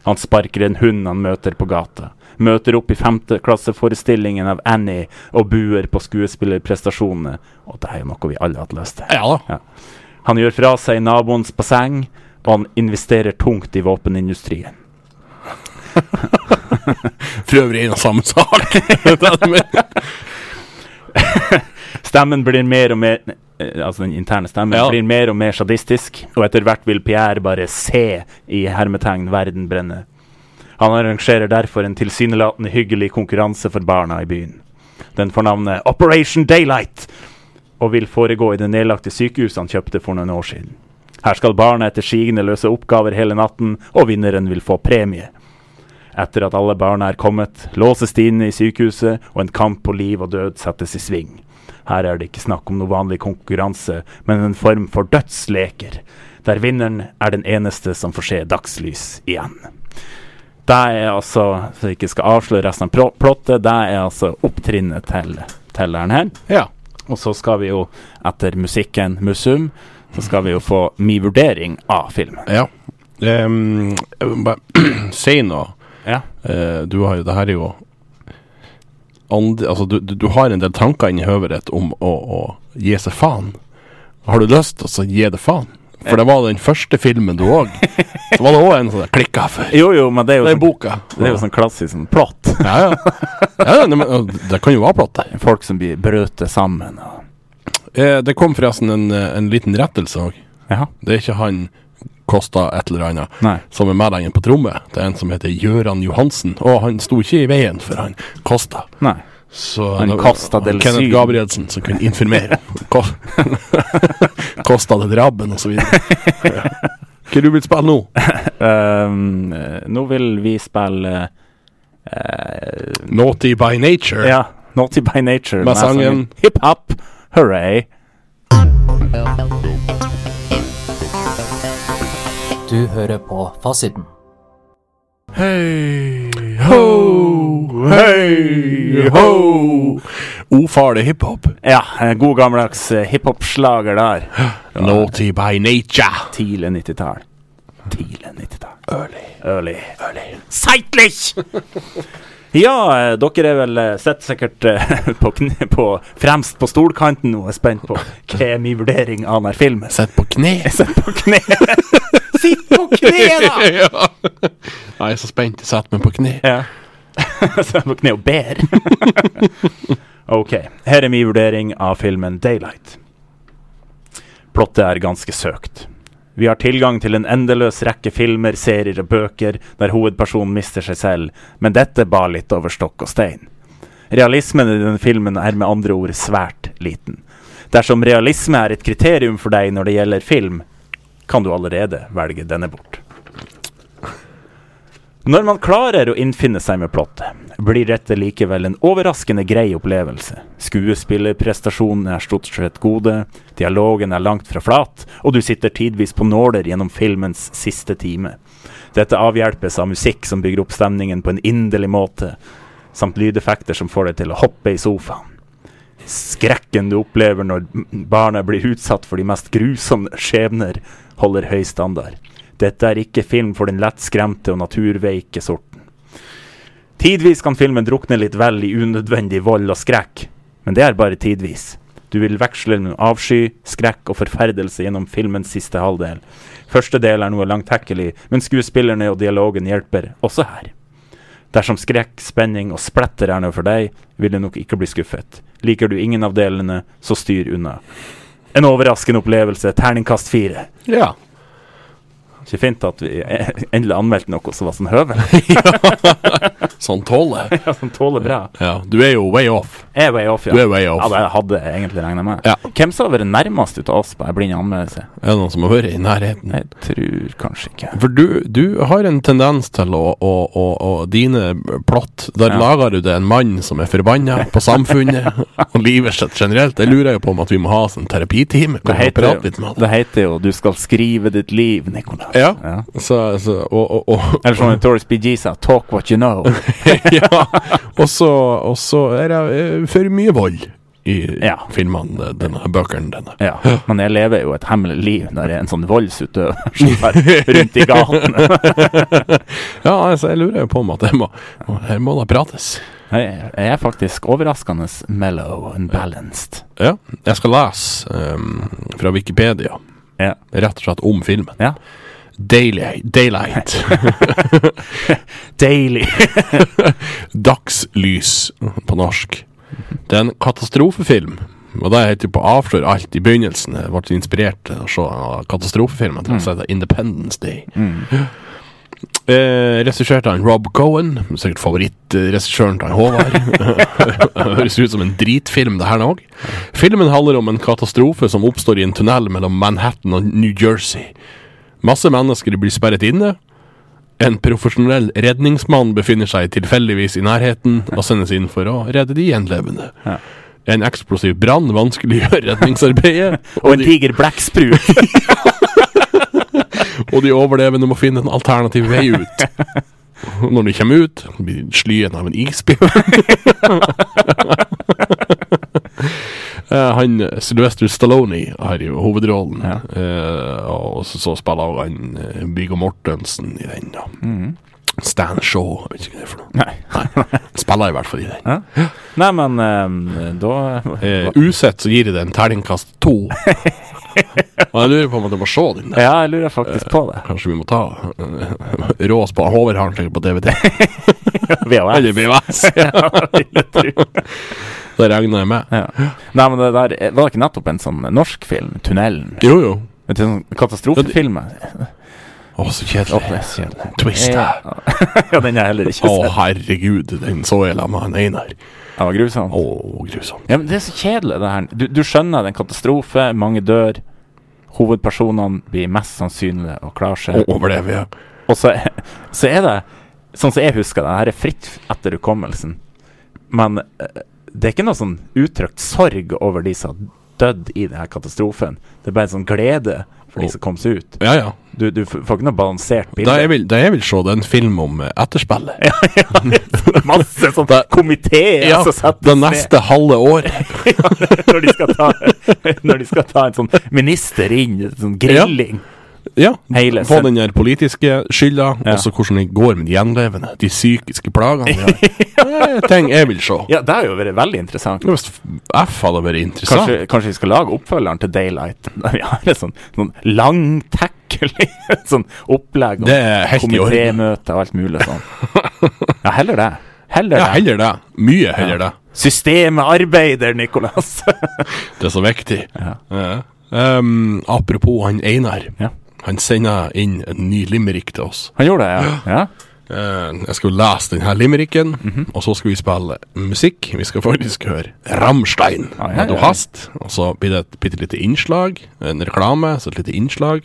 D: Han sparker en hund han møter på gata, møter opp i femteklasseforestillingen av Annie og buer på skuespillerprestasjonene, og det er jo noe vi alle har lest til.
C: Ja da.
D: Han gjør fra seg naboens basseng, og han investerer tungt i våpenindustrien.
C: For øvrig en og samme sak.
D: Stemmen blir mer og mer eh, Altså den interne stemmen
C: Ja.
D: blir mer og mer sadistisk, og etter hvert vil Pierre bare se i hermetegn verden brenne. Han arrangerer derfor en tilsynelatende hyggelig konkurranse for barna i byen. Den får navnet Operation Daylight og vil foregå i det nedlagte sykehuset han kjøpte for noen år siden. Her skal barna etter sigende løse oppgaver hele natten, og vinneren vil få premie. Etter at alle barna er kommet, låses de inne i sykehuset, og en kamp på liv og død settes i sving. Her er det ikke snakk om noe vanlig konkurranse, men en form for dødsleker, der vinneren er den eneste som får se dagslys igjen. Det er altså, så jeg ikke skal avsløre resten av pro- plottet, det er altså opptrinnet til telleren her.
C: ja.
D: Og så skal vi jo, etter musikken Musum, så skal vi jo få min vurdering av filmen.
C: Ja. Ehm, jeg må bare si noe.
D: Ja.
C: Eh, du har jo, det her er jo andre, altså, du, du, du har en del tanker inni hodet ditt om å, å gi seg faen. Har du lyst til å så gi det faen? For det var den første filmen du òg. Så var det òg en sånn klikka for.
D: Jo, jo, men det er jo,
C: Det er
D: sånn,
C: boka.
D: det er jo sånn klassisk sånn plott.
C: Ja, ja. ja ja, nei, men, og det kan jo være plott, det.
D: Folk som blir brøtet sammen og
C: Eh, det kom forresten en, eh, en liten rettelse òg.
D: Ja.
C: Det er ikke han Kosta et eller annet
D: Nei.
C: som er med deg på tromme. Det er en som heter Gøran Johansen. Og han sto ikke i veien for han Kosta.
D: Nei.
C: Så
D: Han
C: det var
D: Costa del
C: Kenneth
D: Syd.
C: Gabrielsen som kunne informere. Ko- Costa del Rabben og så videre. Hva du vil spille nå?
D: Ehm, eh, nå vil vi spille eh,
C: Naughty by Nature.
D: Ja, Naughty by Nature
C: Med sangen-
D: Hiphop. Hooray.
E: Du hører på Fasiten.
C: Hei ho, hei, ho. O far, det er hiphop.
D: Ja, eh, god gammeldags eh, hiphop-slager der.
C: Naughty by nature.
D: Tidlig 90-tall. Tidlig 90-tall.
C: Early.
D: Early. Early. Seitlich! Ja, eh, dere er vel eh, sett sikkert eh, på, kne, på fremst på stolkanten nå. Jeg er spent på hva er min vurdering av denne filmen.
C: Sett på kne.
D: Sitt på kne! Sitt på kne, da!
C: ja. Jeg er så spent. Jeg setter meg på kne.
D: Ja. Så jeg er på kne og ber. ok, her er min vurdering av filmen Daylight. Plottet er ganske søkt. Vi har tilgang til en endeløs rekke filmer, serier og bøker der hovedpersonen mister seg selv, men dette bar litt over stokk og stein. Realismen i denne filmen er med andre ord svært liten. Dersom realisme er et kriterium for deg når det gjelder film, kan du allerede velge denne bort. Når man klarer å innfinne seg med plottet, blir dette likevel en overraskende grei opplevelse. Skuespillerprestasjonene er stort sett gode, dialogen er langt fra flat, og du sitter tidvis på nåler gjennom filmens siste time. Dette avhjelpes av musikk som bygger opp stemningen på en inderlig måte, samt lydeffekter som får deg til å hoppe i sofaen. Skrekken du opplever når barna blir utsatt for de mest grusomme skjebner, holder høy standard. Dette er ikke film for den lettskremte og naturveike sorten. Tidvis kan filmen drukne litt vel i unødvendig vold og skrekk, men det er bare tidvis. Du vil veksle med avsky, skrekk og forferdelse gjennom filmens siste halvdel. Første del er noe langtekkelig, men skuespillerne og dialogen hjelper også her. Dersom skrekk, spenning og splatter er noe for deg, vil du nok ikke bli skuffet. Liker du ingen av delene, så styr unna. En overraskende opplevelse. Terningkast fire.
C: Ja.
D: Ikke fint at vi eh, endelig anmeldte noe som var sånn høvel.
C: Sånn tåler jeg.
D: ja, som tåler bra.
C: Ja. Du er jo way off.
D: Jeg er way off, ja.
C: Du er way off.
D: Ja, det hadde jeg egentlig regna med.
C: Ja.
D: Hvem som har vært nærmest ut av oss på ei blind anmeldelse?
C: Er det noen som har vært i nærheten?
D: Jeg tror kanskje ikke
C: For du, du har en tendens til å, å, å, å Dine plott Der
D: Ja.
C: lager du det en mann som er forbanna på samfunnet og livet sitt generelt. Det lurer jeg jo på om at vi må ha sånn terapitime. Hvor
D: det
C: vi
D: heter,
C: prater litt
D: jo,
C: med han.
D: det heter jo 'Du skal skrive ditt liv', Nicolai.
C: Ja. Så, så, og, og, og,
D: Eller sånn. som Notorious BG sa 'Talk what you know'.
C: ja. Og så, og så er det eh, for mye vold i
D: Ja.
C: filmene, denne bøkene denne.
D: Ja, men jeg lever jo et hemmelig liv når jeg er en sånn voldsutøver som er rundt i gatene.
C: Ja, altså, jeg lurer jo på om at jeg må, her må det prates.
D: Jeg jeg er faktisk overraskende mellow and balanced.
C: Ja, jeg skal lese ehm, fra Wikipedia,
D: Ja.
C: rett og slett om filmen.
D: ja.
C: Daylight, daylight.
D: Daily.
C: Dagslys på norsk. Det er en katastrofefilm. Og det heter jo på å avsløre alt i begynnelsen. Jeg ble inspirert til å se av
D: Mm.
C: katastrofefilmen til å si det, Independence Day. Eh, Regissert av en Rob Cohen, sikkert favorittregissøren til en Håvard. Høres ut som en dritfilm, det her nå òg. Filmen handler om en katastrofe som oppstår i en tunnel mellom Manhattan og New Jersey. Masse mennesker blir sperret inne, en profesjonell redningsmann befinner seg tilfeldigvis i nærheten og sendes inn for å redde de gjenlevende. En eksplosiv brann vanskeliggjør redningsarbeidet,
D: Og
C: og
D: en
C: de,
D: diger blekksprut.
C: og de overlevende må finne en alternativ vei ut. Når de kommer ut, blir de slyen av en isbjørn. Eh, Han Sylvester Stallone har jo hovedrollen, eh, og så, så spiller også han eh, Viggo Mortensen i den. da Stan Shaw, jeg vet ikke hva det er for noe.
D: Mm. Nei.
C: Spiller i hvert fall i den.
D: Nei, men ehm, da
C: Eh, usett så gir jeg det en terningkast to. Og jeg lurer på om at jeg må se den. der.
D: Ja, jeg lurer faktisk på det.
C: Kanskje vi må ta eh, rås på Håvard har den sikkert på DVD.
D: VHS.
C: Eller BVS. Det regner jeg med.
D: Ja. Nei, men det der eh, var det ikke nettopp en sånn norsk film? 'Tunnelen'?
C: Jo, jo.
D: En sånn katastrofefilm? Åh,
C: Å, så kjedelig.
D: det er så kjedelig.
C: Twist.
D: Ja,
C: Å,
D: Ja, den har jeg heller ikke sett.
C: herregud, den så jeg la meg han Einar.
D: Den var grusom.
C: Å, grusom.
D: Ja, men Det er så kjedelig, det her. Du, du skjønner det er en katastrofe, mange dør. Hovedpersonene blir mest sannsynlig å klare
C: Å,
D: seg.
C: overlever jeg.
D: Og så, er- så er det, sånn som jeg husker det, det her er fritt etter hukommelsen. Men eh, det er ikke noe sånn uttrykt sorg over de som har dødd i denne katastrofen. Det er bare en sånn glede for de som kom seg ut.
C: Ja, ja.
D: Du, du f- får ikke noe balansert
C: Da
D: bilde.
C: jeg vil, da jeg vil se, det er en film om eh, etterspillet. Ja,
D: Masse sånn
C: Da-
D: komiteer som settes
C: det
D: ned.
C: neste halve året.
D: når, de skal ta, når de skal ta en sånn minister inn, en sånn grilling.
C: Ja.
D: Hele
C: Få
D: sen-
C: den der politiske skylda,
D: Ja.
C: og så hvordan det går med de gjenlevende. De psykiske plagene vi har. Det er ting jeg vil se.
D: Ja, det har jo vært veldig interessant.
C: Ja, Hvis F hadde vært interessant
D: Kanskje, kanskje vi skal lage oppfølgeren til Daylight? Der vi har en sånn, sånn lang tackling, et sånn opplegg
C: Det er helt i orden.
D: komitémøte og alt mulig sånn. Ja, heller det. Heller
C: Ja,
D: det.
C: heller det. Mye heller det.
D: Systemet arbeider, Nicolas.
C: Det er så viktig. Ja. Ehm, apropos han Einar.
D: Ja.
C: Han sender inn en ny limerick til oss.
D: Han gjorde det, ja. ja.
C: Eh, jeg skal lese denne limericken,
D: Mhm.
C: og så skal vi spille musikk. Vi skal faktisk høre Rammstein.
D: Ah, ja, ja,
C: Du
D: ja.
C: hast. Og så blir det et bitte lite innslag. En reklame, så et lite innslag.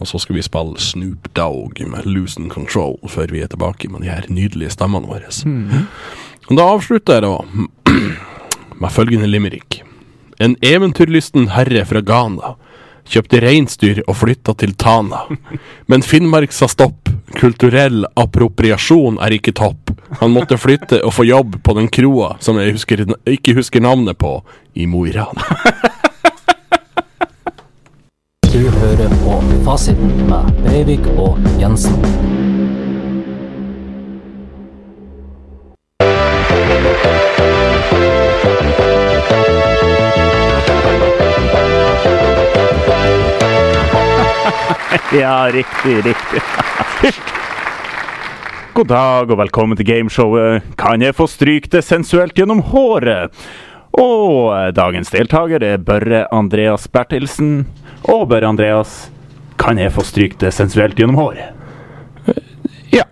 C: Og så skal vi spille Snoop Dogg med Loosen Control før vi er tilbake med de her nydelige stemmene våre.
D: Mhm.
C: Og Da avslutter jeg da med følgende limerick. En eventyrlysten herre fra Ghana kjøpte reinsdyr og flytta til Tana. Men Finnmark sa stopp. Kulturell appropriasjon er ikke topp. Han måtte flytte og få jobb på den kroa som jeg husker, ikke husker navnet på, i Mo i Rana.
E: Du hører på Fasiten med Breivik og Jensen.
D: Ja, riktig, riktig. God dag og velkommen til gameshowet. Kan jeg få stryk det sensuelt gjennom håret? Og eh, dagens deltaker er Børre Andreas Bertelsen. Og Børre Andreas, kan jeg få stryk det sensuelt gjennom håret?
C: Ja.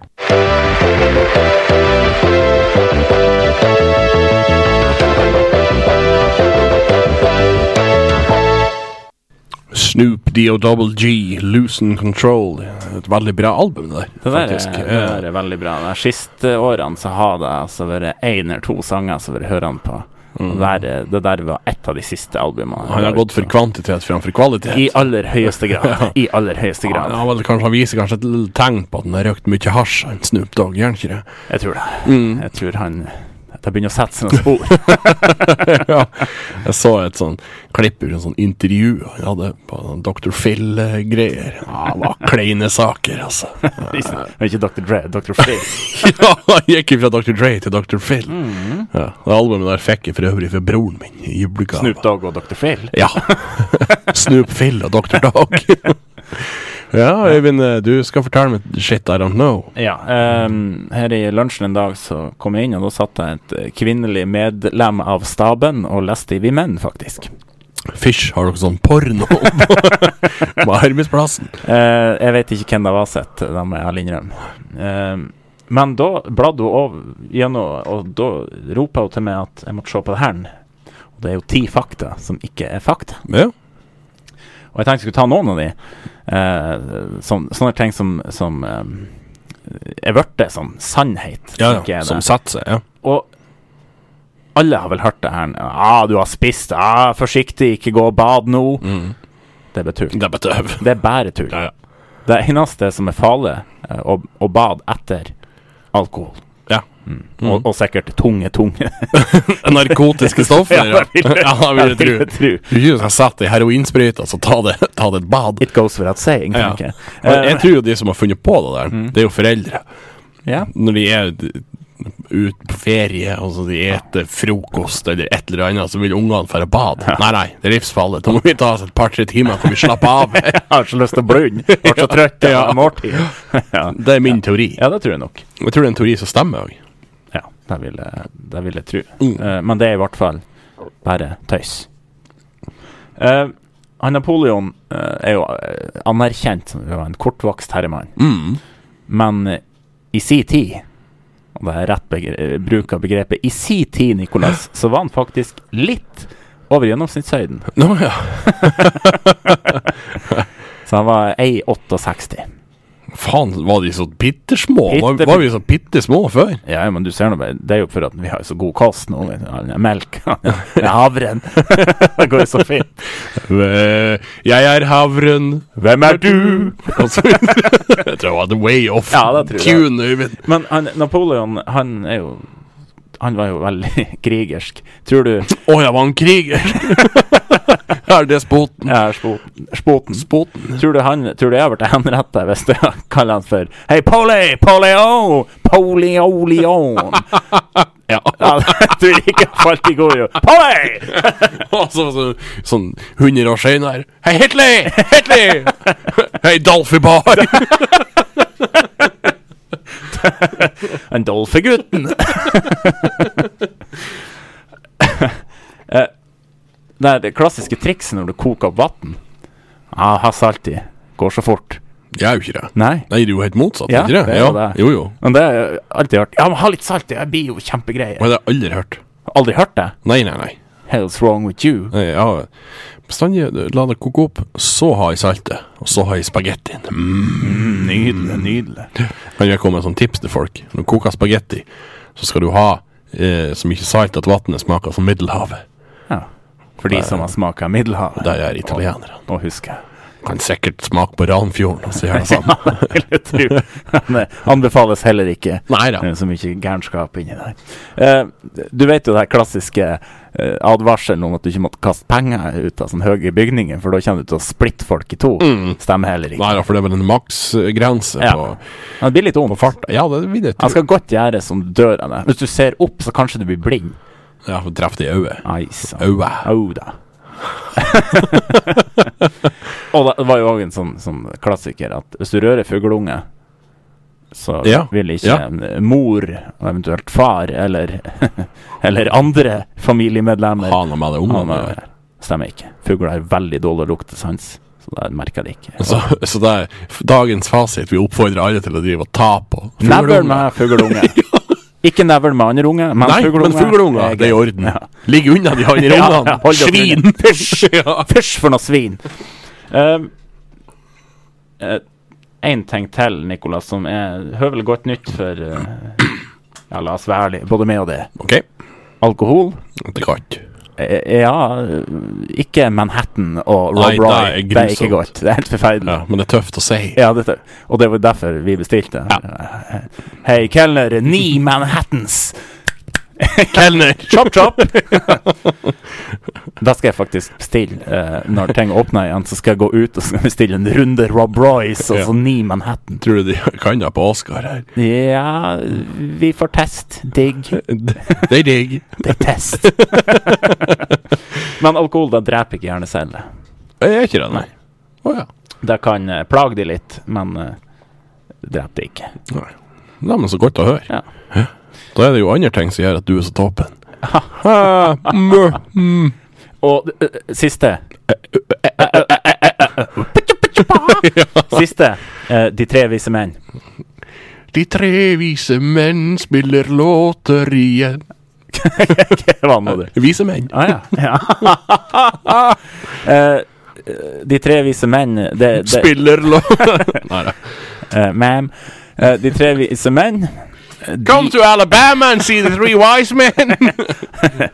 C: Snoop D.O.G. Loosen Control. Et veldig bra album, det der.
D: Det der, er,
C: faktisk.
D: det
C: Eh,
D: der er veldig bra. De siste årene så har det altså vært én eller to sanger som vi hører han på. Og der, er- det der var et av de siste albumene.
C: Mm. Han har gått for kvantitet framfor kvalitet.
D: I aller høyeste grad. I aller høyeste
C: Ja,
D: grad.
C: han, vel, kanskje, han viser kanskje et lite tegn på at han har røkt mye hasj, han Snoop Dogg, gjør han ikke det?
D: Jeg tror det. Jeg tror han Det begynner å sette seg noen spor.
C: ja. Jeg så et sånn klipp ur en sånn intervju han hadde på sånn Dr. Phil-greier. Ja, det var kleine saker, altså.
D: Men ikke Dr. Dre, Dr. Phil.
C: ja, han gikk fra Dr. Dre til Dr. Phil.
D: Mm.
C: Ja, det albumet der fikk jeg for øvrig fra broren min i julegave.
D: Snoop Dogg og Dr. Phil.
C: Ja. Snoop Phil og Dr. Dog. ja, Øyvind, eh, du skal fortelle meg shit I don't know.
D: Ja, ehm, her i lunsjen en dag så kom jeg inn, og da satt det et eh, kvinnelig medlem av staben og leste i Vi Menn, faktisk.
C: Fish, har dere sånn porno på på arbeidsplassen?
D: Eh, jeg vet ikke hvem det var sett, det må jeg ærlig innrømme. Ehm, men da bladde hun over gjennom, og da ropa hun til meg at jeg måtte se på det her. Og det er jo ti fakta som ikke er fakta.
C: Ja.
D: Og jeg tenkte jeg skulle ta noen av de. Eh, sån, sånne ting som, som eh, er blitt sånn sannhet.
C: Ja,
D: tenker
C: ja.
D: jeg
C: Som
D: det.
C: satser, ja.
D: Og alle har vel hørt det her. Ah, du har spist. Ah, forsiktig, ikke gå og bad nå.
C: Mm.
D: Det er bare tull.
C: Det betøv.
D: Det er bare tull.
C: Ja, ja.
D: Det eneste som er farlig, er å, å bade etter alkohol.
C: Ja. Mm.
D: Og, og sikkert tunge, tunge.
C: Narkotiske stoffer, ja. Ja, det vil jeg tro.
D: tro.
C: Du er ikke som satt i heroinsprøyta, så ta det, ta det et bad.
D: It goes without saying,
C: Ja.
D: tenker jeg.
C: Men
D: Eh,
C: jeg tror jo de som har funnet på det der, det er jo foreldre.
D: ja.
C: Når de er d- ut på ferie, og så de eter frokost eller et eller annet, så vil ungene dra og bade. Nei, nei, det er livsfarlig. Da må vi ta oss et par-tre timer før vi slapper av.
D: Jeg har så lyst til å blunde. Ble så trøtt av
C: Ja.
D: måltid. Ja.
C: Det er min teori.
D: ja, det tror jeg nok.
C: Jeg tror det er en teori som stemmer òg.
D: Ja, det vil jeg, det vil jeg tro.
C: Mm.
D: Eh, men det er i hvert fall bare tøys. Eh, han Napoleon eh, er jo eh, anerkjent som en kortvokst herremann,
C: Mm.
D: men eh, i si tid og det er rett begre eh, bruk av begrepet i si tid, Nicolas, så var han faktisk litt over gjennomsnittshøyden.
C: Nå, ja.
D: Så han var 1,68.
C: faen, var de så bittersmå? Var,
D: Bitte-
C: var vi så bittesmå før?
D: Ja, men du ser nå bare Det er jo for at vi har så god kost nå. vet du. Ja, Melk. Ja, Havren. det går jo så fint.
C: Eh, Jeg er havren,
D: Hvem er du?
C: og så videre. Jeg tror det var The Way Off.
D: Ja, det tror jeg.
C: Tune, Øyvind.
D: Men han, Napoleon, han er jo Han var jo veldig krigersk. Tror du
C: Å, jeg var en kriger! er det spoten?
D: Ja, spoten. spoten.
C: Spoten.
D: Tror du, han, tror du jeg ble henrettet hvis jeg kaller han for Hei, Polly! Polio! Polioleon! ja. ja, du ikke falt i går, jo. Polly!
C: Og så, så, sånn 100 år senere Hei, Hitler! Hitler! Hei, Dalfy Bar!
D: En Dolphy-gutten! Eh, det er det klassiske trikset når du koker opp vann. Ja, ah, salt i. Går så fort.
C: Jeg er jo ikke det.
D: Nei.
C: Nei, det er jo helt motsatt.
D: Ja,
C: ikke det?
D: det er
C: ja.
D: jo det.
C: Jo, jo.
D: Men det har jeg alltid hørt. Ja, men ha litt salt i, det blir jo
C: Og
D: kjempegreier.
C: det har jeg aldri hørt.
D: Aldri hørt det.
C: Nei, nei, nei.
D: Hell's wrong with you.
C: nei Eh, ja. Bestandig la det koke opp, så har jeg saltet, og så har jeg spagettien. Mm.
D: Nydelig, nydelig.
C: Kan jeg komme med sånn tips til folk? Når du koker spagetti, så skal du ha eh, så mye salt at vannet smaker som Middelhavet.
D: Ja. For de som har smaka Middelhavet.
C: Der er italienerne.
D: Nå husker jeg.
C: Kan sikkert smake på Ranfjorden og så gjør det samme.
D: Vil jeg tro. Men det anbefales heller ikke.
C: Nei da.
D: Det er Eh, så mye gærenskap inni der. Eh, du vet jo det her klassiske eh, advarselen om at du ikke måtte kaste penger ut av sånne høye bygninger, for da kommer du til å splitte folk i to. Stemmer heller ikke.
C: Nei da, for det er vel en maksgrense
D: Ja.
C: på,
D: Men det blir litt
C: på
D: vondt.
C: fart. Ja, det vil jeg
D: Han
C: tro.
D: skal godt gjøres om dørene. Hvis du ser opp, så kanskje du blir blind.
C: Ja, for å treffe det i øyet.
D: Ai sann.
C: Øyet.
D: Au da. og det var jo òg en sånn, sånn klassiker at hvis du rører fugleunge, så
C: Ja,
D: vil ikke
C: ja.
D: en mor, og eventuelt far, eller, eller andre familiemedlemmer
C: Ha noe med det
D: ha
C: ungene
D: noe
C: å gjøre.
D: der. Stemmer ikke. Fugler har veldig dårlig luktesans, så det merker de ikke.
C: Så, så det er f- dagens fasit. Vi oppfordrer alle til å drive og ta på.
D: Nevl
C: Fugleunge.
D: med fugleunge. Ikke nevl med andre unge, men
C: Nei,
D: fugleunge.
C: men fugleunger, det er i orden. Ligg unna de andre
D: Ja,
C: ungene.
D: ja, hold dere
C: Svin!
D: unna. Fysj! Fysj for noe svin! Én ting til, Nicolas, som er høvelig godt nytt for eh, Ja, la oss være ærlige, både meg og det.
C: OK,
D: Alkohol?
C: det kan ikke.
D: Eh, ja eh, Ikke Manhattan og Rob
C: Nei, det
D: Roy.
C: er
D: Det er ikke
C: grusomt.
D: godt. Det er helt forferdelig.
C: Ja, men det er tøft å si.
D: Ja, dette, og det var derfor vi bestilte. Hei, kelner, ni Manhattans! kelner! Chop, chop! da skal jeg faktisk bestille. eh, når ting åpner igjen, så skal jeg gå ut og så skal jeg bestille en runde Rob Royce og
C: Ja.
D: så ni Manhattan.
C: Tror du de kan det på Oscar her?
D: Ja, vi får test. Digg.
C: Det er digg.
D: Det er test. Men alkohol, da dreper ikke gjerne selv.
C: Jeg er ikke det, nei. Å ja.
D: Det kan eh, plage de litt, men eh, dreper det ikke.
C: Nei. Nei, men så godt å høre.
D: Ja.
C: Da er det jo andre ting som gjør at du er så toppen. Ah, mø. mm.
D: Og ø, ø, siste Siste. eh, De tre vise menn.
C: De tre vise menn spiller låter igjen.
D: Hva nå, du?
C: Vise menn.
D: Ah, ja. Eh, eh, de tre vise menn det, det,
C: Spiller låter Nei da.
D: eh, Ma'am. Eh, de tre vise menn
C: Come to Alabama and see the three wise men!
D: Det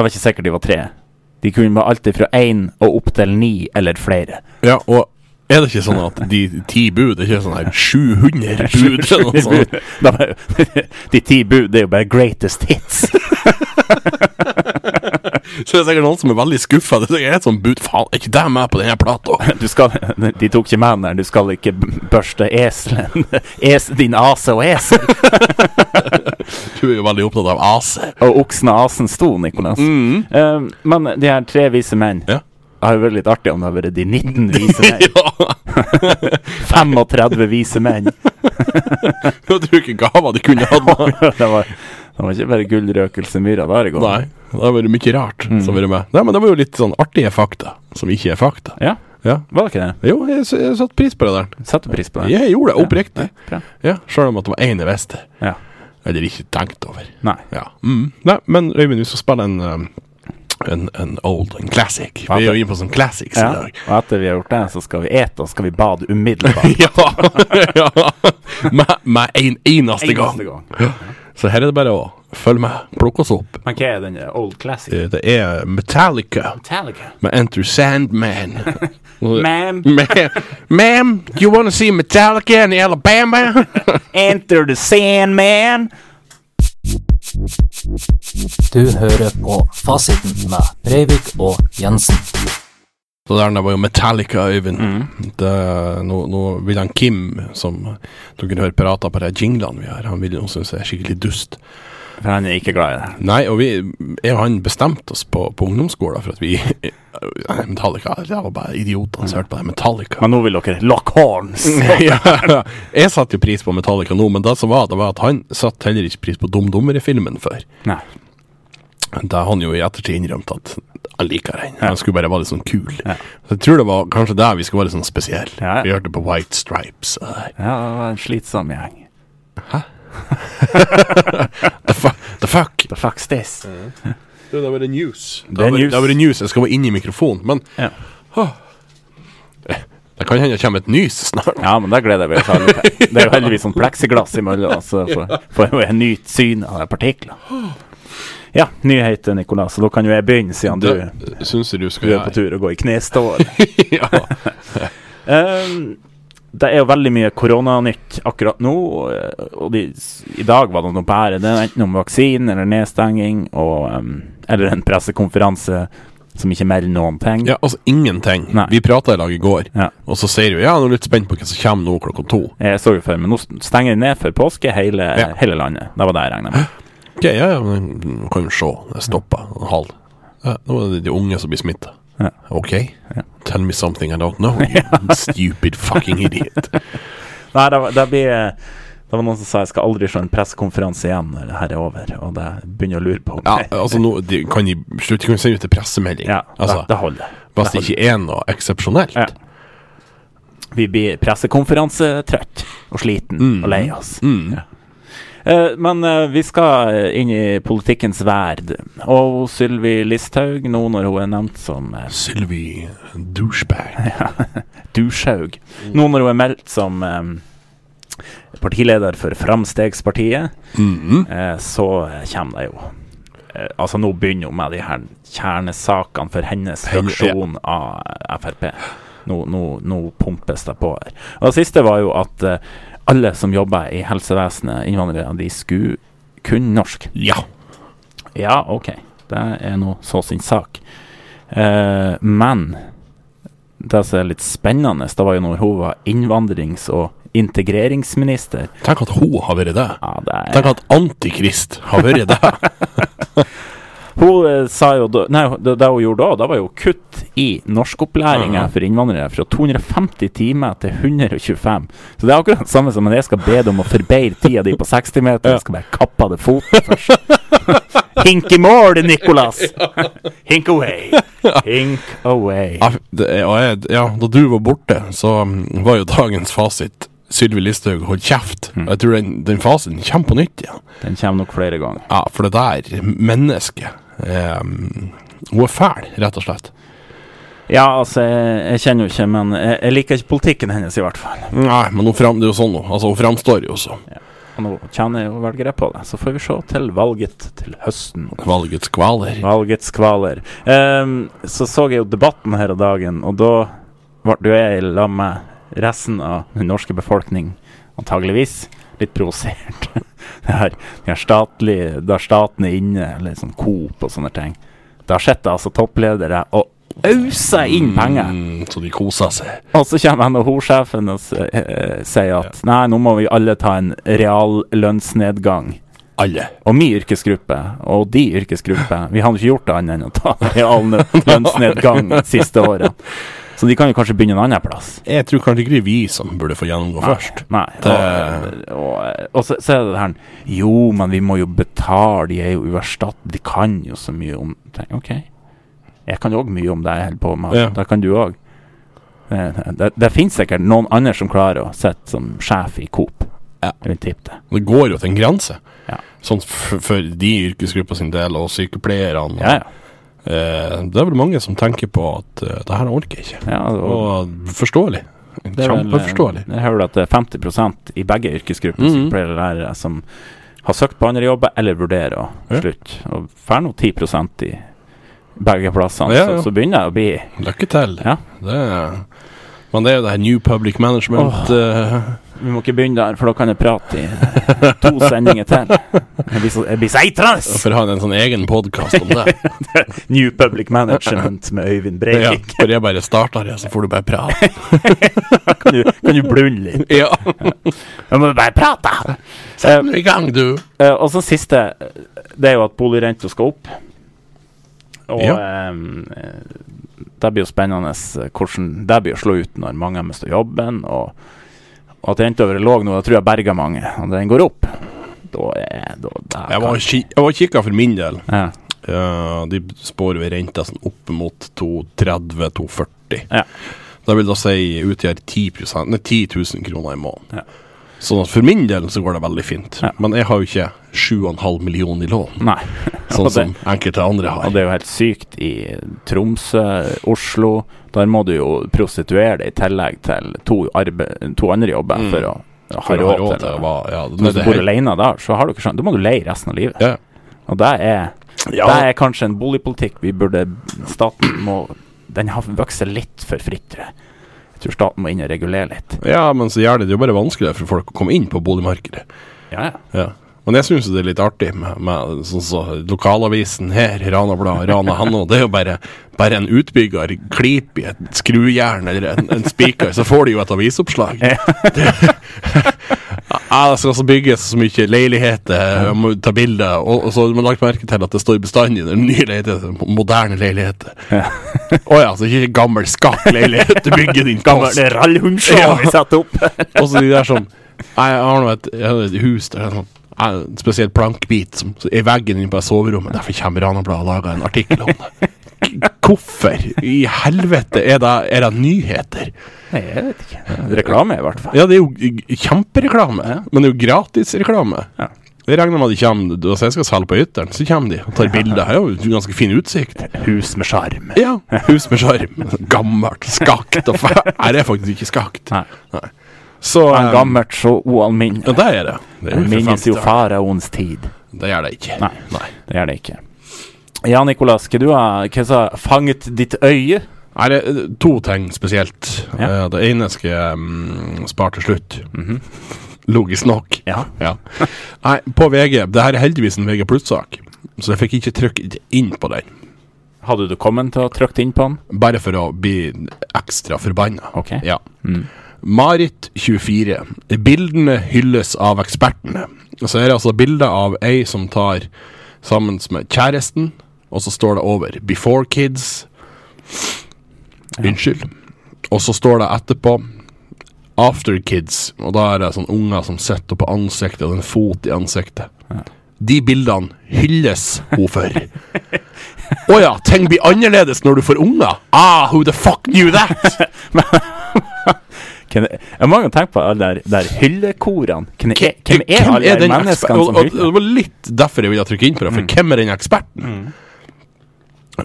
D: var ikke sikkert de var tre. De kunne være alltid fra én og opp til ni eller flere.
C: ja, og er det ikke sånn at de ti bud er ikke sånn her 700 bud eller noe sånt?
D: Da var jo- De ti bud, det er jo bare greatest hits.
C: Så det er sikkert noen som er veldig skuffa. Det er et sånt bud. Faen, er ikke det med på denne plata?
D: Du skal, de tok ikke med den der. Du skal ikke b- børste eselen. Es, din ase og esel.
C: Du er jo veldig opptatt av AC.
D: Og oksen og asen sto, Nikolas.
C: Mm.
D: Eh, men de her tre vise menn
C: Ja.
D: Det har jo vært litt artig om det har vært de 19 vise menn.
C: Ja,
D: 35 vise menn.
C: jeg tror ikke gava de kunne hatt.
D: det, var, det var ikke bare gullrøkelse myra der i går.
C: Nei, det har vært mye rart som har vært med. Nei, men det var jo litt sånn artige fakta, som ikke er fakta.
D: Ja,
C: Ja.
D: var det ikke det?
C: Jo, jeg, s- jeg satte pris på det der.
D: Setter pris på det.
C: Jeg gjorde det oppriktig.
D: Bra.
C: Ja, Sjøl om at det var én jeg visste,
D: Ja.
C: eller ikke tenkt over.
D: Nei.
C: Ja. Mm. Nei, men Øyvind, vi skal spille en um, En, en old, en classic. Vi er jo inne på sånn classics
D: Ja.
C: i dag.
D: Og etter vi har gjort det, så skal vi ete og skal vi bade umiddelbart.
C: Ja! ja. Med, med en eneste gang.
D: Eneste gang.
C: Så her er det bare å følge med, plukke oss opp.
D: Men hva er den eh, old classic?
C: Eh, Det er Metallica
D: Metallica.
C: med Enter Sandman.
D: Ma'am,
C: Ma'am, ma'am, you wanna see Metallica in Alabama?
D: enter the Sandman.
E: Du hører på Fasiten med Breivik og Jensen.
C: Så der der var jo Metallica, Øyvind. Det, nå, nå vil han Kim, som du kan høre pirater på de jinglene vi har, han vil jo synes jeg er skikkelig dust.
D: For han er ikke glad i det.
C: Nei, og vi jeg og han bestemte oss på, på ungdomsskolen for at vi Nei, Metallica Det var bare idioter som hørte på det. Metallica.
D: Men nå vil dere lock horns.
C: ja, jeg satte jo pris på Metallica nå, men det som var, det var at han satte heller ikke pris på Dum Dummer-filmen før.
D: Nei.
C: Da har han jo i ettertid innrømt at han liker den. Han skulle bare være litt sånn kul. Så jeg tror det var kanskje der vi skulle være litt sånn spesielle.
D: Ja, ja.
C: Vi hørte på White Stripes. og det der.
D: Ja, det var en slitsom gjeng.
C: The, fu the fuck?
D: The fuck's this?
C: Det var det news.
D: Det er
C: Det var
D: news.
C: det var news. Jeg skal være inne i mikrofonen, men
D: Ja.
C: det kan hende det kommer et nys snart.
D: ja, men det gleder vi oss alle til. Det er jo heldigvis sånn pleksiglass imellom, så får- får jo jeg nytt syn av de partiklene. Ja, nyheter, Nicolas. Så da kan jo jeg begynne, siden du,
C: Det syns jeg du skal
D: du er på tur å gå i knestående.
C: ja.
D: Ehm, det er jo veldig mye koronanytt akkurat nå. Og, og de, s- i dag var det noe bare. Det er enten om vaksine eller nedstenging og ehm, Eller en pressekonferanse som ikke melder noen ting.
C: ja, altså ingenting.
D: Nei.
C: Vi prata i lag i går,
D: Ja.
C: og så sier du ja, nå er jeg litt spent på hva som kommer nå klokka to.
D: Jeg så jo før, men nå s- stenger de ned før påske hele,
C: Ja.
D: hele landet. Det var det jeg regna med.
C: Ok, ja, ja, men nå kan vi se. Det stoppa en halv. Ja, nå er det de unge som blir smitta.
D: Ja.
C: Ok? Tell me something I don't know, you stupid fucking idiot.
D: Nei, det, var- det blir det var noen som sa jeg skal aldri se en pressekonferanse igjen når det her er over. Og det begynner jeg å lure på. om
C: Ja,
D: jeg-
C: altså nå de, kan de slutte kan de sende ut en pressemelding.
D: ja
C: altså,
D: det, det holder.
C: hvis det ikke er noe eksepsjonelt.
D: Ja. Vi blir pressekonferansetrøtt og sliten
C: Mm.
D: og lei oss. Ja. Eh, men eh, vi skal inn i politikkens verd. Og Sylvi Listhaug, nå når hun er nevnt som uh,
C: Sylvi douchebag.
D: Dushaug Nå når hun er meldt som eh, partileder for Framstegspartiet,
C: Mm.
D: eh, så eh, kommer det jo eh, Altså, nå begynner hun med de her kjernesakene for hennes
C: Henne-
D: fraksjon av Frp. Nå, nå, nå pumpes det på her. Og det siste var jo at eh, alle som jobber i helsevesenet, innvandrere, de skulle kunne norsk.
C: Ja.
D: Ja, ok. Det er nå så sin sak. Eh, men det som er litt spennende, det var jo når hun var innvandrings- og integreringsminister.
C: Tenk at hun har vært det.
D: Ja, det er,
C: Tenk at Antikrist har vært det.
D: hun eh, sa jo da, Nei, det, det hun gjorde da, det var jo kutt i norskopplæringa
C: Mhm.
D: for innvandrere fra 250 timer til 125. Så det er akkurat det samme som når jeg skal be deg om å forbedre tida di på 60 meter. Jeg skal bare kappe av deg foten først. Hink i mål, Nicolas! Hink away. Hink away.
C: Ja, det er- og jeg, ja, da du var borte, så mm, var jo dagens fasit Sylvi Listhaug holdt kjeft. Jeg tror den, den fasiten kommer på nytt igjen.
D: Den kommer nok flere ganger.
C: Ja, for det der mennesket eh, Hun er fæl, rett og slett.
D: Ja, altså, jeg, jeg kjenner jo ikke, men jeg, jeg liker ikke politikken hennes, i hvert fall.
C: Nei, men hun fram, det er jo sånn nå. Altså, hun framstår jo som
D: Og nå kjenner jeg jo velgere på det. Så får vi se til valget til høsten.
C: valgets kvaler.
D: Valgets kvaler. Ehm, så så jeg jo debatten her om dagen, og da ble jo jeg i lag med resten av den norske befolkning, antageligvis, litt provosert. det her, det her statlig, der staten er inne, eller sånn Coop og sånne ting. Da sitter altså toppledere og auser inn penger.
C: Mm, så de koser seg.
D: Og så kommer NHO-sjefen og s- eh, sier at nei, nå må vi alle ta en reallønnsnedgang.
C: Alle.
D: Og min yrkesgruppe, og de yrkesgruppe, vi har jo ikke gjort det annet enn å ta reallønnsnedgang de siste årene. Så de kan jo kanskje begynne en annen plass.
C: Jeg tror kanskje ikke det er vi som burde få gjennomgå først.
D: Nei. Og, og, og så, så er det det her Jo, men vi må jo betale, de er jo uerstattelige, de kan jo så mye om ting. Ok. Jeg kan jo òg mye om det jeg holder på med.
C: Ja.
D: Det kan du òg. Det, det, det finnes sikkert noen andre som klarer å sitte som sjef i Coop.
C: Ja.
D: Jeg vil tippe det.
C: Det går jo til en grense.
D: Ja.
C: Sånn f for de yrkesgruppa sin del, og sykepleierne. og-
D: Ja, ja.
C: Eh, det er vel mange som tenker på at eh, det her orker jeg ikke.
D: Ja, og
C: Og forståelig.
D: det er vel, eh,
C: Kjempeforståelig.
D: Jeg hører at det er 50 i begge yrkesgrupper
C: Mhm.
D: sykepleiere og lærere eh, som har søkt på andre jobber eller vurderer å
C: Ja.
D: slutte. Og får nå 10 i begge plassene,
C: Ja,
D: så,
C: ja.
D: så begynner jeg å bli
C: Lykke til.
D: Ja.
C: Det er, men det er jo det her New Public Management eh,
D: Vi må ikke begynne der, for da kan jeg prate i to sendinger til. Jeg blir så, jeg blir så eitrende!
C: For å ha en sånn egen podkast om det.
D: New Public Management med Øyvind
C: ja,
D: Breivik.
C: for jeg bare starter det, så får du bare prate.
D: Kan, du, kan du blunde litt?
C: ja,
D: Jeg må bare prate! Eh,
C: i gang, du.
D: eh, og så siste, eh, det er jo at boligrenta skal opp. Og
C: Ja.
D: eh, eh, det blir jo spennende eh, hvordan det blir å slå ut når mange mister jobben. Og, og at renta har vært lav nå, da tror jeg berger mange. Og den går opp. Da er da, da
C: Jeg
D: kan-
C: var, og ki jeg var og kikka for min del.
D: ja.
C: Eh, de spår vi renta sånn opp mot 230-240.
D: Ja.
C: Det vil da si utgjør 10, nei, 10 000 kroner i måneden.
D: Ja.
C: Sånn at for min del så går det veldig fint.
D: Ja.
C: Men jeg har jo ikke 7,5 millioner i lån,
D: Nei. Og
C: sånn
D: det-
C: som enkelte andre
D: Og
C: har.
D: det er jo helt sykt i Tromsø, Oslo. Der må du jo prostituere deg i tillegg til to, arbe to andre jobber
C: Mm.
D: for å ha
C: For å ha
D: råd til det.
C: være- ja,
D: Hvis
C: det,
D: du
C: det,
D: bor
C: det,
D: alene der, så har du ikke sånn. Da må du leie resten av livet.
C: Ja.
D: Og det er,
C: ja,
D: det er kanskje en boligpolitikk vi burde Staten må Den har vokst litt for fritt, tror jeg. Jeg tror staten må inn og regulere litt.
C: ja, men så gjør det det jo bare vanskeligere for folk å komme inn på boligmarkedet.
D: Ja, ja.
C: Ja. Men jeg syns det er litt artig med, med sånn så, lokalavisen her, Rana Blad, Rana Hanno. Det er jo bare, bare en utbygger klip i et skrujern eller en, en spiker, så får de jo et avisoppslag. Det, ja, det skal altså bygges så mye leiligheter, jeg må ta bilder, og, og så har man lagt merke til at det står bestandig når nye leiligheter, moderne leiligheter. Å
D: Ja.
C: ja. så ikke gammel skakk leilighet du bygger din
D: Gammel
C: kost.
D: rallhundshow
C: Ja.
D: vi setter opp!
C: Og så de der sånn Nei, jeg har nå et, jeg har et hus der det er sånn nei, en spesiell plankbit som så er veggen inne på det soverommet. Derfor kommer Ranabladet og lager en artikkel om det. K- Hvorfor i helvete er det, er det nyheter?
D: Nei, jeg vet ikke. Reklame, i hvert fall.
C: Ja, det er jo g- kjempereklame, men det er jo gratisreklame.
D: Ja.
C: Jeg regner med at de kommer du- Hvis jeg skal selge på Ytteren, så kommer de og tar bilder. Her er jo ganske fin utsikt.
D: Hus med sjarm.
C: Ja, hus med sjarm. Gammelt, skakt og fælt. Nei, det er faktisk ikke skakt.
D: Nei. Um,
C: Så
D: Men
C: eh,
D: gammelt så ualminnelig.
C: Ja, det er det. Det
D: Jeg
C: for
D: minnes
C: femti
D: jo
C: år.
D: faraoens tid.
C: Det gjør det ikke.
D: Nei. Det gjør det ikke. Ja, Nikolas, hva du har hva sa fanget ditt øye?
C: Nei, det er eh, to ting spesielt.
D: Ja. Mhm.
C: Eh, Det ene skal jeg mm, spare til slutt. Logisk nok.
D: Ja.
C: Ja. Nei, på VG Det her er heldigvis en VG pluss-sak, så jeg fikk ikke trykket inn på den.
D: Hadde du kommet til å trykt inn på den?
C: Bare for å bli ekstra forbanna.
D: Ok. Mm.
C: Ja. Marit 24. Bildene hylles av ekspertene. Så er det altså bilder av ei som tar sammen med kjæresten, og så står det over 'Before Kids'. Unnskyld. Og så står det etterpå 'After Kids', og da er det sånn unger som sitter på ansiktet, og en fot i ansiktet. De bildene hylles hun for. Å ja, ting blir annerledes når du får unger? Ah, who the fuck knew that?
D: Hvem, jeg må jo tenke på alle der, der hyllekorene. Hvem, er- hvem er
C: Hvem
D: alle de
C: den
D: menneskene
C: eksper-
D: som Mm.
C: og- og- og
D: hyller?
C: Det var litt derfor jeg ville trykke inn på det, for hvem er den eksperten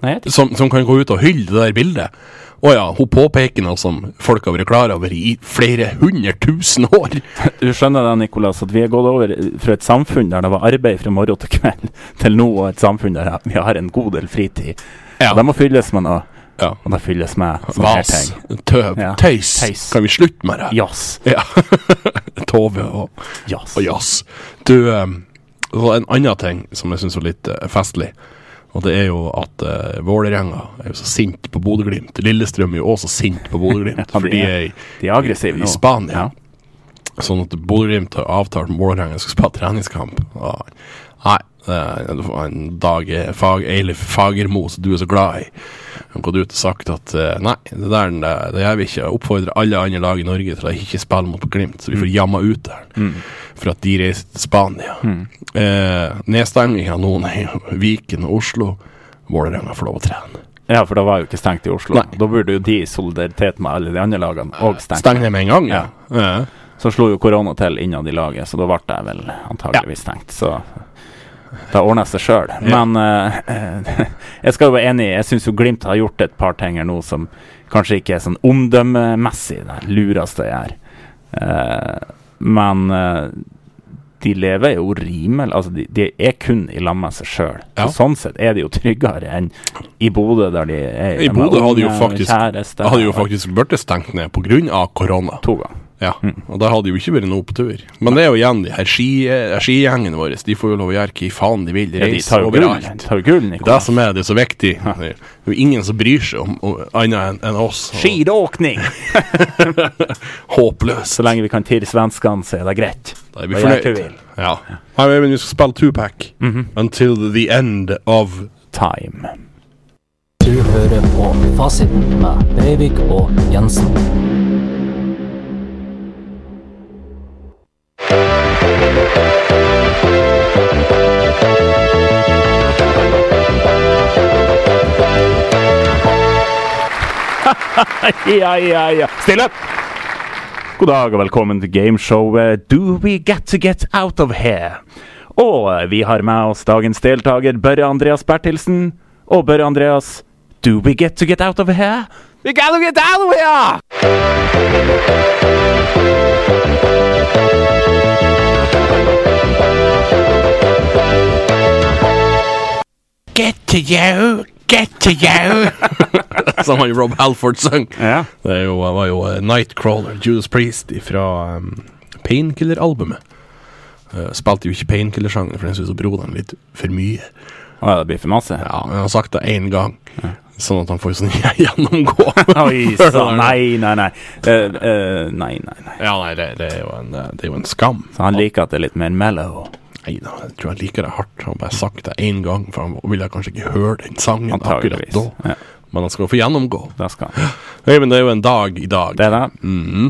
D: Nei, jeg vet ikke.
C: som, som kan gå ut og hylle det der bildet? Å ja, hun påpeker noe som folk har vært klar over i flere hundre tusen år.
D: Du skjønner det, Nikolas, at vi er gått over fra et samfunn der det var arbeid fra morgen til kveld, til nå og et samfunn der vi har en god del fritid.
C: Ja.
D: Og det må fylles med noe.
C: Ja.
D: Og det fylles med sånne Sånn her
C: Vas,
D: ting.
C: tøv,
D: Ja.
C: tøys.
D: Tøys.
C: Kan vi slutte med det?
D: Jazz.
C: Ja. Tove og
D: Jazz.
C: og jazz. Du, eh, det var en annen ting som jeg syns var litt eh, festlig. Og det er jo at eh, Vålerenga er jo så sint på Bodø-Glimt. Lillestrøm er jo også sint på Bodø-Glimt,
D: Ja,
C: for
D: de
C: de
D: er-
C: er i,
D: De er aggressive
C: i
D: nå.
C: Spania.
D: Ja.
C: Sånn at Bodø-Glimt har avtalt med Vålerenga at de skal spille treningskamp. Og, nei, eh, det var en dag eh, fag, Eilif Fagermo, som du er så glad i, har gått ut og sagt at eh, nei, det der det, det gjør vi ikke. Jeg oppfordrer alle andre lag i Norge til å ikke spille mot Glimt, så vi får jamma ut der. For at de reiser til Spania.
D: Mm.
C: Eh, Nedstengninga nå i Viken og Oslo. Vålerenga får lov å trene.
D: Ja, for det var jo ikke stengt i Oslo.
C: Nei.
D: Da burde jo de i solidaritet med alle de andre lagene òg stengt.
C: Steng ned med en gang, ja. ja.
D: Så slo jo korona til innad i laget, så da ble det vel antageligvis stengt. Så Det ordner seg sjøl. Men eh, jeg skal jo være enig, jeg syns Glimt har gjort et par ting her nå som kanskje ikke er sånn omdømmemessig det lureste jeg gjør. Eh, men eh, de lever jo rimelig Altså, de, de er kun i lag med seg sjøl.
C: Ja.
D: Sånn sett er det jo tryggere enn i Bodø, der de er
C: I
D: med
C: Bodø hadde jo
D: unge og
C: faktisk,
D: kjæreste
C: hadde jo
D: og-
C: faktisk blitt stengt ned pga. korona.
D: To ganger.
C: Ja,
D: Mm.
C: og det hadde jo ikke vært noe opptur. Men det er jo igjen de her ski- eh, skigjengen vår. De får jo lov å gjøre hva faen de vil.
D: Ja, de
C: Reise
D: tar jo gull, de
C: overalt.
D: tar jo gull,
C: Det
D: Nicolas.
C: som er det så viktig. Det er jo ingen som bryr seg om om- annet enn enn oss. og
D: Skiåkning!
C: Håpløst.
D: Så lenge vi kan tirre svenskene, så er det greit.
C: Da er vi
D: Da gjør hva vi
C: fornøyd.
D: vil. Mhm.
C: Ja. Nei, men vi skal spille Tupac until the end of
D: Time.
E: Du hører på Fasiten med Breivik og Jensen.
D: Ja, ja, ja. Stille! God dag og velkommen til gameshowet Do We Get To Get Out Of Here? Og eh, vi har med oss dagens deltaker Børre Andreas Bertilsen. Og Børre Andreas, do we get to get out of here? We got to get out of here!
C: Get to you, get to you Som han Rob Halford sang.
D: Ja.
C: Det er jo, var jo eh, Nightcrawler, Judas Priest fra um, Painkiller-albumet. Eh, spilte jo ikke Painkiller-sjangeren, for den syntes broderen litt for mye.
D: Å, det blir for masse.
C: Ja, men Han har sagt det én gang, sånn at han får sånn gjennomgå.
D: Oi, så, nei, nei, nei. Eh, eh, nei, nei, nei.
C: Ja, nei, det, det, er jo en, eh, det er jo en skam.
D: Så han liker at det er litt mer mellow.
C: Nei da, jeg tror han liker det hardt. Han har bare sagt det én gang, for han ville kanskje ikke høre den sangen akkurat
D: Antageligvis.
C: da.
D: Ja,
C: Men han skal jo få gjennomgå.
D: det skal han.
C: Nei, men det er jo en dag i dag. Mhm.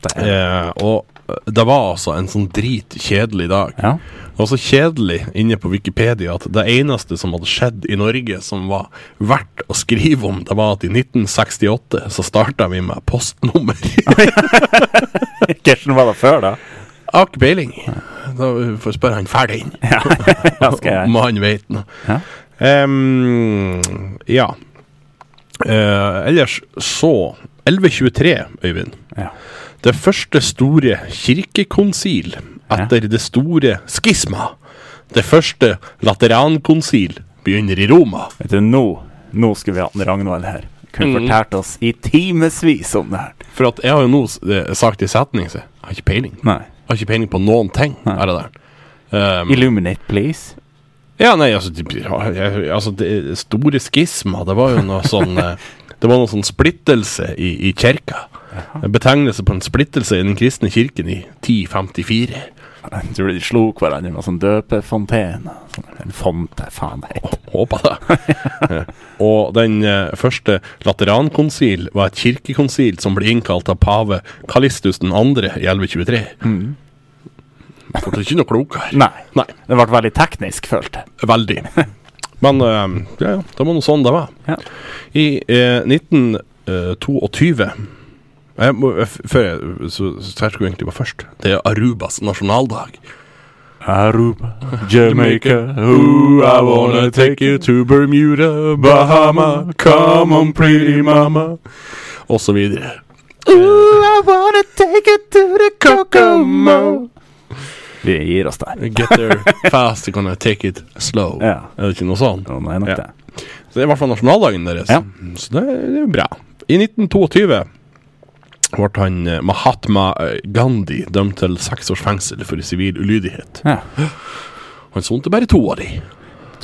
D: Det er det. det er.
C: Eh, og eh, det var altså en sånn dritkjedelig dag.
D: Ja.
C: Det var så kjedelig inne på Wikipedia at det eneste som hadde skjedd i Norge som var verdt å skrive om, det var at i 1968 så starta vi med postnummer.
D: Hvordan var det før, da?
C: Har ikke peiling. Da får jeg spørre han ferdig inn,
D: Ja, skal jeg.
C: om han vet noe.
D: Ja.
C: Ehm, ja. Eh, ellers så 1123, Øyvind.
D: Ja.
C: Det første store kirkekonsil etter det store skisma. Det første laterankonsil begynner i Roma.
D: Vet du, nå, nå skulle vi hatt en Ragnvald her. Kunne fortalt oss i timevis om det her.
C: For at jeg har jo nå s- eh, sagt i setning, så jeg har ikke peiling.
D: Nei.
C: Jeg har ikke peiling på noen ting. Er det der. Ehm,
D: Illuminate, please.
C: Ja, nei, altså, de, ja, jeg- altså det Store skisma, det var jo noe sånn eh, Det var noe sånn splittelse i, i kirka. En betegnelse på en splittelse i den kristne kirken i 1054.
D: Jeg tror de slo hverandre med sånn døpefontene. Sånn, en fonte, faen det heter.
C: Håper det. Eh, Og den eh, første laterankonsil var et kirkekonsil som ble innkalt av pave Kalistus 2. i 1123. Fortsatt ikke noe klokere.
D: Mm. Nei.
C: Nei,
D: Det ble veldig teknisk, følte jeg.
C: veldig. Men eh, ja, ja, det var nå sånn det var.
D: Ja.
C: I eh, 1922 jeg må, eh, f- Før jeg Så, så her skulle jeg egentlig være først. Det er Arubas nasjonaldag.
D: Aruba, Jamaica, ooh, I wanna take you to
C: Bermuda,
D: Bahama, come on, pretty
C: mama. Og så videre.
D: Ooh, I wanna take you to the Kokomo. Vi gir oss der.
C: Get there fast, you're gonna take it slow.
D: Ja.
C: Er det ikke noe sånn?
D: Nå er nok
C: Ja.
D: det.
C: Så det er i hvert fall nasjonaldagen deres. Mm,
D: Ja.
C: Så det, det er bra. I 1922 ble han eh, Mahatma eh, Gandhi dømt til seks års fengsel for sivil ulydighet.
D: Ja.
C: Han sonte bare to av de.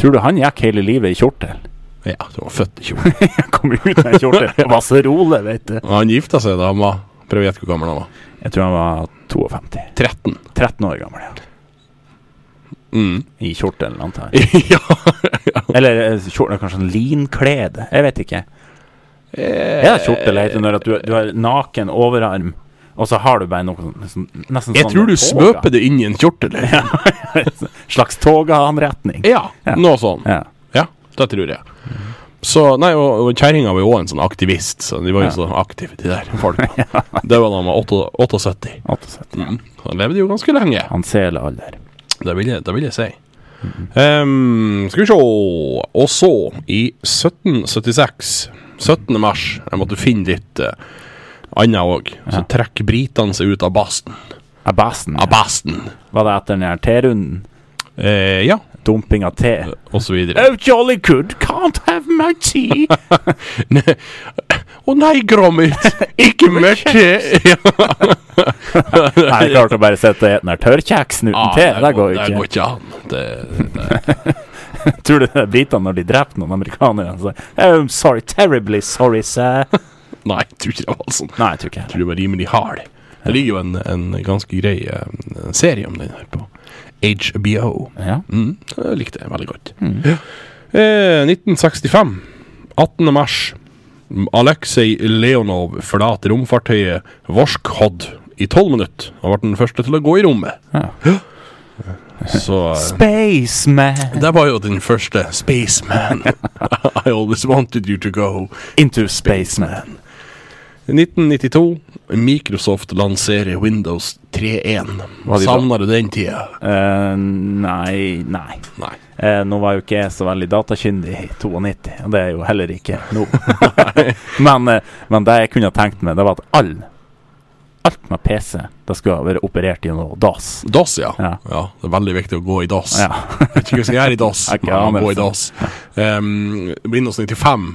D: Tror du han gikk hele livet i kjortel?
C: Ja, han var født i kjole.
D: Han kom ut med en kjortel og var så rolig, vet du.
C: Han gifta seg da han var Prøv å gjette hvor gammel han var.
D: Jeg tror han var 52.
C: 13.
D: 13 år gammel, ja.
C: Mm.
D: I kjortelen, antar jeg.
C: ja.
D: Eller eh, kjortel, kanskje en linklede. Jeg vet ikke. Er det kjortel det heter når at du, du har naken overarm, og så har du bare noe sånn nesten, nesten
C: Jeg tror du svøper det inn i en kjortel. Ja.
D: Slags toga-anretning.
C: ja,
D: Ja.
C: noe sånn.
D: Ja.
C: Ja, det tror jeg. Så, nei, og, og Kjerringa var jo òg en sånn aktivist, så de var jo så aktive, de der folka. Det var da han var åtte- 78.
D: 78.
C: Mm. Han levde jo ganske lenge,
D: Han seler alder.
C: det vil jeg, det vil jeg si. Ehm, skal vi se Og så, i 1776, 17. mars Jeg måtte finne litt eh, annet òg. Så trekker britene seg ut av Basten.
D: Abasten.
C: Av Basten!
D: Var det etter den her terunden?
C: Eh, ja,
D: Dumping av te?
C: og så videre.
D: Oh, jolly good, can't have my tea.
C: Ne- Å nei, Grommit! Ikke mer te! Ja,
D: Nei, jeg klarte å bare sette og spise den her tørrkjeksen uten te. Ah, Det går jo
C: Det
D: ikke.
C: går ikke an. Det,
D: Tror du det er britene når de dreper noen amerikanere? Så, oh, sorry, terribly sorry, sir.
C: nei, jeg tror ikke det var sånn.
D: Nei, jeg tror ikke
C: Jeg tror det var rimelig hard. Det ligger jo en, en ganske grei eh, serie om den her på HBO.
D: Ja.
C: Mm, jeg likte det veldig godt.
D: Mm.
C: Ja. Eh, 1965, 18. mars. Aleksej Leonov forlater romfartøyet Vorskhod i tolv minutter. Han ble den første til å gå i rommet.
D: Ja.
C: Så eh,
D: Spaceman
C: det var jo den første Spaceman. I always wanted you to go.
D: into spaceman.
C: 1992. Microsoft lanserer Windows 3.1.
D: Var de da-
C: Savner du den tida?
D: Eh, nei, nei.
C: Nei.
D: Eh, nå var jo ikke jeg så veldig datakyndig i 92, og det er jeg jo heller ikke nå. men, eh, men det jeg kunne tenkt meg, det var at all, alt med PC det skulle være operert gjennom DAS.
C: DOS, ja. ja.
D: Ja.
C: Det er veldig viktig å gå i DOS.
D: Ja.
C: Jeg vet ikke hva jeg skal gjøre i DOS,
D: Jeg
C: men
D: aner
C: jeg må gå i
D: det.
C: DOS. Um, Windows 95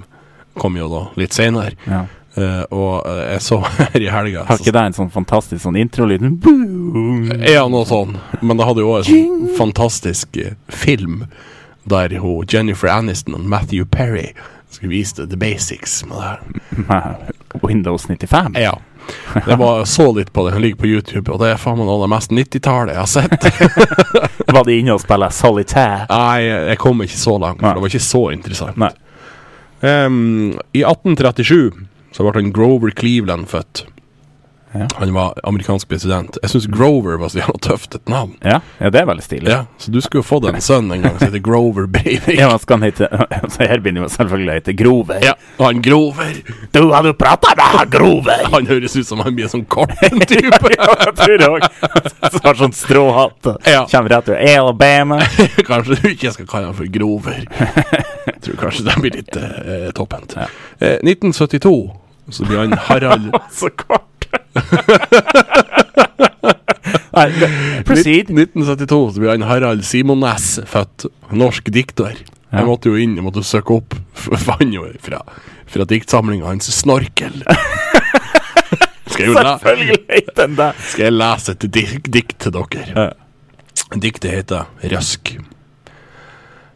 C: kom jo da litt senere,
D: Ja.
C: eh, og eh, jeg så her i helga
D: Har ikke det en sånn fantastisk sånn introlyd? Boom!
C: Ja, noe sånn. Men det hadde jo også en sånn fantastisk eh, film der hun Jennifer Aniston og Matthew Perry skulle vise det the basics med det her.
D: Med Windows 95?
C: Ja. Jeg bare så litt på det. Den ligger på YouTube, og det er faen meg noe av det mest 90-tallet jeg har sett.
D: Var de inne og spilte solitaire?
C: Nei, jeg kom ikke så langt.
D: Nei.
C: for Det var ikke så interessant.
D: Nei.
C: Ehm, I 1837 så ble han Grover Cleveland født.
D: Ja.
C: Han var amerikansk president. Jeg syns Grover var så jævla tøft et navn.
D: Ja, ja det er veldig stilig.
C: Ja, Så du skulle jo fått en sønn en gang som heter Grover Breivik.
D: Ja, men skal han hete Så her begynner jo selvfølgelig å hete Grover.
C: Ja, og han Grover.
D: Du, har du prata med han Grover?
C: Han høres ut som han blir en sånn Corpen-type.
D: Ja, jeg tror det òg. Har sånn stråhatt.
C: Ja.
D: Kommer rett fra Alabama.
C: Kanskje du ikke skal kalle han for Grover. Jeg tror kanskje det blir litt eh, topphendt. Eh, 1972 så blir han Harald
D: Så kort. Nei, g- proceed.
C: 1972 så blir han Harald Simones født. Norsk dikter. Jeg måtte jo inn jeg måtte søke opp f- Fant jo fra, fra diktsamlinga hans 'Snorkel'. Skal jeg, jo la,
D: Selvfølgelig heter den det.
C: skal jeg lese et dik dikt til dere? Diktet heter Røsk.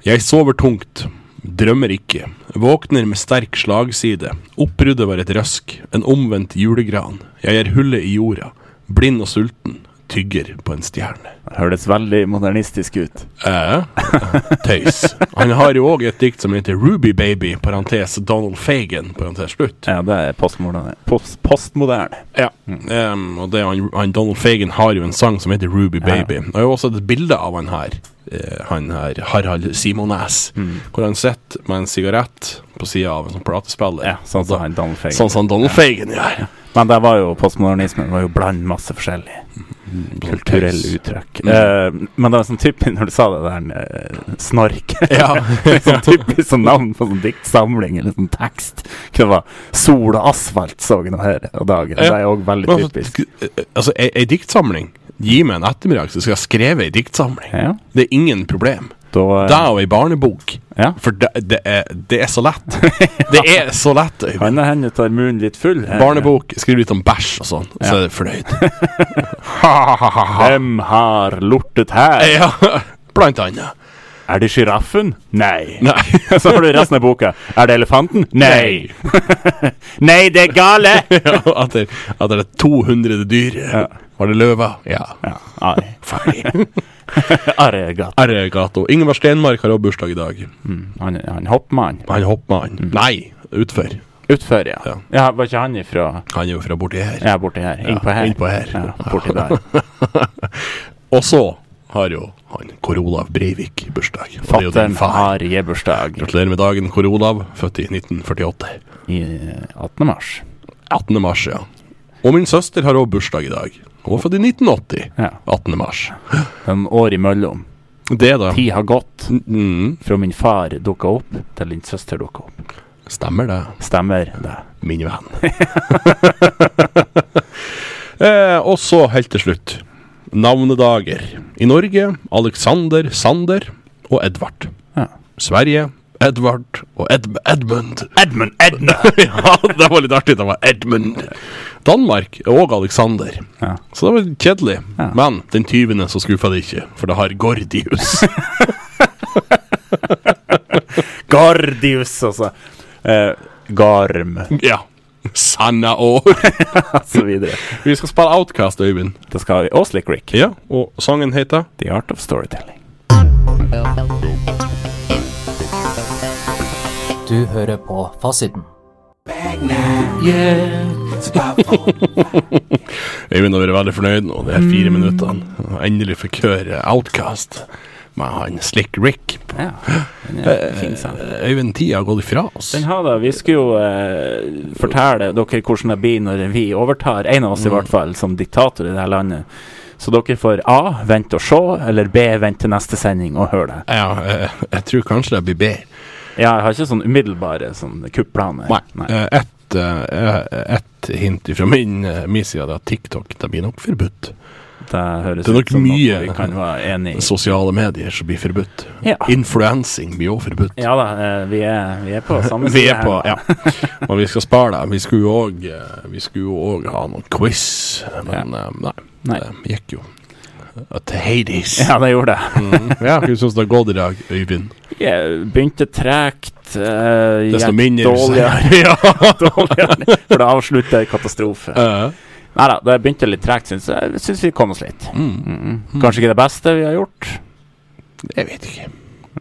C: Jeg sover tungt, drømmer ikke, våkner med sterk slagside. Oppruddet var et røsk, en omvendt julegran. Jeg er hullet i jorda, blind og sulten, tygger på en stjerne.
D: Høres veldig modernistisk ut.
C: Eh, tøys. Han har jo òg et dikt som heter Ruby Baby, parentes Donald Fagan, parentes slutt.
D: Ja, det er postmoderne. Post postmoderne.
C: Ja. Em, og det, han, han Donald Fagan har jo en sang som heter Ruby Baby. Og jeg har også et bilde av han her, eh, han her Harald Simones,
D: Mm.
C: hvor han sitter med en sigarett på sida av en sånn platespiller.
D: Ja, sånn som han Donald Fagan.
C: Sånn som Donald Fagan gjør.
D: Men det var jo postmodernismen. Det var jo bland masse forskjellig.
C: sånn
D: kulturelle uttrykk. Eh, men det var sånn typisk når du sa det der eh, Snork.
C: Ja.
D: sånn typisk sånn navn på sånn diktsamling eller sånn tekst. Det var Sol og asfalt, så jeg nå her og dagen.
C: Ja.
D: Det er òg veldig
C: Men
D: typisk.
C: altså, eh, altså ei, ei diktsamling Gi meg en ettermiddag, så skal jeg skrive ei diktsamling.
D: Ja.
C: Det er ingen problem.
D: Da, eh,
C: Det er jo ei barnebok.
D: ja.
C: For det, det, er, det er så lett. Det er så lett. Øyvind.
D: Han og henne tar munnen litt full.
C: Barnebok, skriv litt om bæsj og sånn, så
D: Ja.
C: er det fornøyd.
D: Hvem har lortet her?
C: Ja, blant annet.
D: Er det sjiraffen? Nei.
C: Nei.
D: Så har du resten av boka. Er det elefanten? Nei. Nei, det er gale!
C: Ja, at det, at det er 200 dyr. Var det løver? Ja.
D: Ja, Nei.
C: Ferdig.
D: Arigato.
C: Arigato. Ingvar Stenmark har også bursdag i dag. Mm.
D: Han, han hoppmannen.
C: Han hoppmannen. Nei, utfor.
D: Utfør, ja.
C: Ja.
D: ja. Var ikke han ifra
C: Han er jo fra borti her.
D: Ja, borti her. Innpå her.
C: innpå her.
D: Ja, borti der.
C: Og så har jo han Kor Olav Breivik bursdag. Og det er jo din
D: Fattern
C: far.
D: har gebursdag
C: Gratulerer med dagen, Kor Olav. Født i 1948.
D: i eh, 18. mars.
C: 18. mars, ja. Og min søster har også bursdag i dag. Hun er født i 1980.
D: Ja.
C: 18. mars.
D: En år imellom.
C: Det, da.
D: Tid har gått
C: Mm,
D: fra min far dukka opp, til din søster dukka opp.
C: stemmer det,
D: Stemmer det?
C: min venn. eh, og så, helt til slutt, navnedager. I Norge Alexander, Sander og Edvard.
D: Ja.
C: Sverige Edvard og Ed Edmund.
D: Edmund Edna!
C: ja, det var litt artig. Det var Edmund. Danmark og Alexander.
D: Ja.
C: Så det var litt kjedelig.
D: Ja.
C: Men den tyvende så skuffa det ikke, for det har Gordius.
D: Gardius, altså. Eh, garm, og
C: ja. Sanna år.
D: så videre.
C: Vi skal spille Outcast, Øyvind.
D: Det skal vi. Og Slick Rick.
C: Ja, og sangen heter
D: The Art of Storytelling.
E: Du hører på Fasiten.
C: Øyvind har vært veldig fornøyd nå, de her fire minuttene. Og Endelig fikk høre Outcast med han Slick Rick. Eh,
D: Ja. Den er fin sang.
C: Øyvind, tida har gått ifra oss.
D: Den har det. Vi skulle jo eh, fortelle dere hvordan det blir når vi overtar, en av oss
C: Mm.
D: i hvert fall, som diktator i det her landet. Så dere får A. Vent og se, eller B. Vent til neste sending og hør det.
C: Ja, eh, jeg tror kanskje det blir B.
D: Ja, jeg har ikke sånn umiddelbare sånn kupplaner.
C: Eh, Et, eh, et hint fra min, eh, min side det er at TikTok det blir nok forbudt.
D: Det høres
C: Det er nok
D: ut som
C: mye-
D: noe vi kan være enig i.
C: Sosiale medier som blir forbudt.
D: Ja.
C: Influensing blir også forbudt.
D: ja da, eh, vi er, vi er på samme
C: Vi
D: side.
C: er på, ja. Og vi skal spare det. Vi skulle jo òg Vi skulle jo òg ha noen quiz, men eh, nei.
D: Nei.
C: Det gikk jo eh, til Hades.
D: Ja, det gjorde det.
C: Mm. Ja, Hvordan syns du det har gått i dag, Øyvind?
D: Jeg begynte tregt. eh,
C: Desto
D: gikk
C: mindre du
D: dårligere.
C: sier. Ja.
D: dårligere, For det avslutter en katastrofe.
C: Eh,
D: Nei da, det begynte litt tregt, syns jeg. Jeg Syns vi kom oss litt. Mm.
C: Hmm.
D: Kanskje ikke det beste vi har gjort?
C: jeg vet ikke.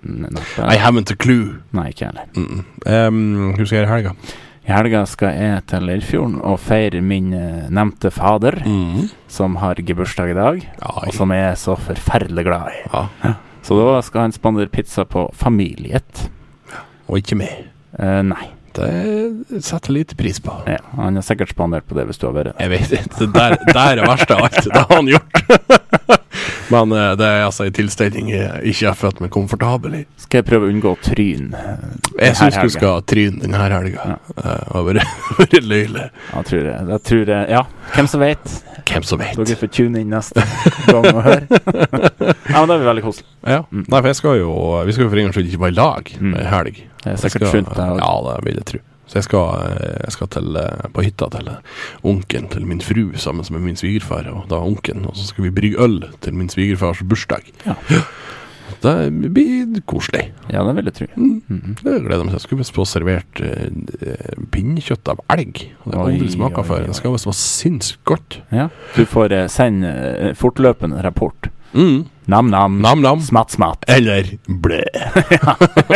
D: Nei,
C: I haven't a clue.
D: Nei ikke heller.
C: Mm. Um, husker jeg i helga.
D: I helga skal jeg til Leirfjorden og feire min eh, nevnte fader,
C: Mm.
D: som har gebursdag i dag,
C: Ja,
D: og som jeg er så forferdelig glad i.
C: ja.
D: Så da skal han spandere pizza på familiet.
C: Og ikke meg.
D: Eh, nei.
C: Det setter jeg lite pris på.
D: Ja, han har sikkert spandert på det hvis du har vært der.
C: Jeg vet ikke. Det der, der er verst av alt. Det har han gjort. Men eh, det er altså en tilstelning jeg ikke har følt meg komfortabel i.
D: Skal jeg prøve å unngå tryn?
C: Jeg
D: her
C: syns du
D: helga.
C: skal tryne denne helga. Eh, Og være være løyle.
D: Ja, tror jeg. jeg tror jeg. Ja, hvem som vet?
C: Hvem som vet.
D: Dere får tune inn neste gang og høre. Ja, men det blir veldig koselig.
C: Ja. Nei, for jeg skal jo Vi skal jo for en gangs skyld ikke være i lag
D: Mm.
C: ei helg.
D: Det er
C: Jeg
D: sikkert
C: skal-
D: sunt, det òg.
C: Ja, det vil jeg tro. Så jeg skal, eh, jeg skal til, eh, på hytta til eh, onkelen til min fru sammen med min svigerfar og da onkelen. Og så skal vi brygge øl til min svigerfars bursdag.
D: Ja.
C: Det blir koselig.
D: Ja, det vil jeg tro. Mm-hmm.
C: Det gleder jeg meg til. Jeg skulle visst få servert eh, eh, pinnekjøtt av elg. Og det har
D: Oi,
C: jeg aldri smaka
D: oi,
C: før.
D: oi.
C: Det skal visst være sinnssykt godt.
D: Ja. Du får eh, sende eh, fortløpende rapport.
C: Mm.
D: Nam-nam.
C: Nam-nam.
D: Smatt-smatt.
C: Eller blæ.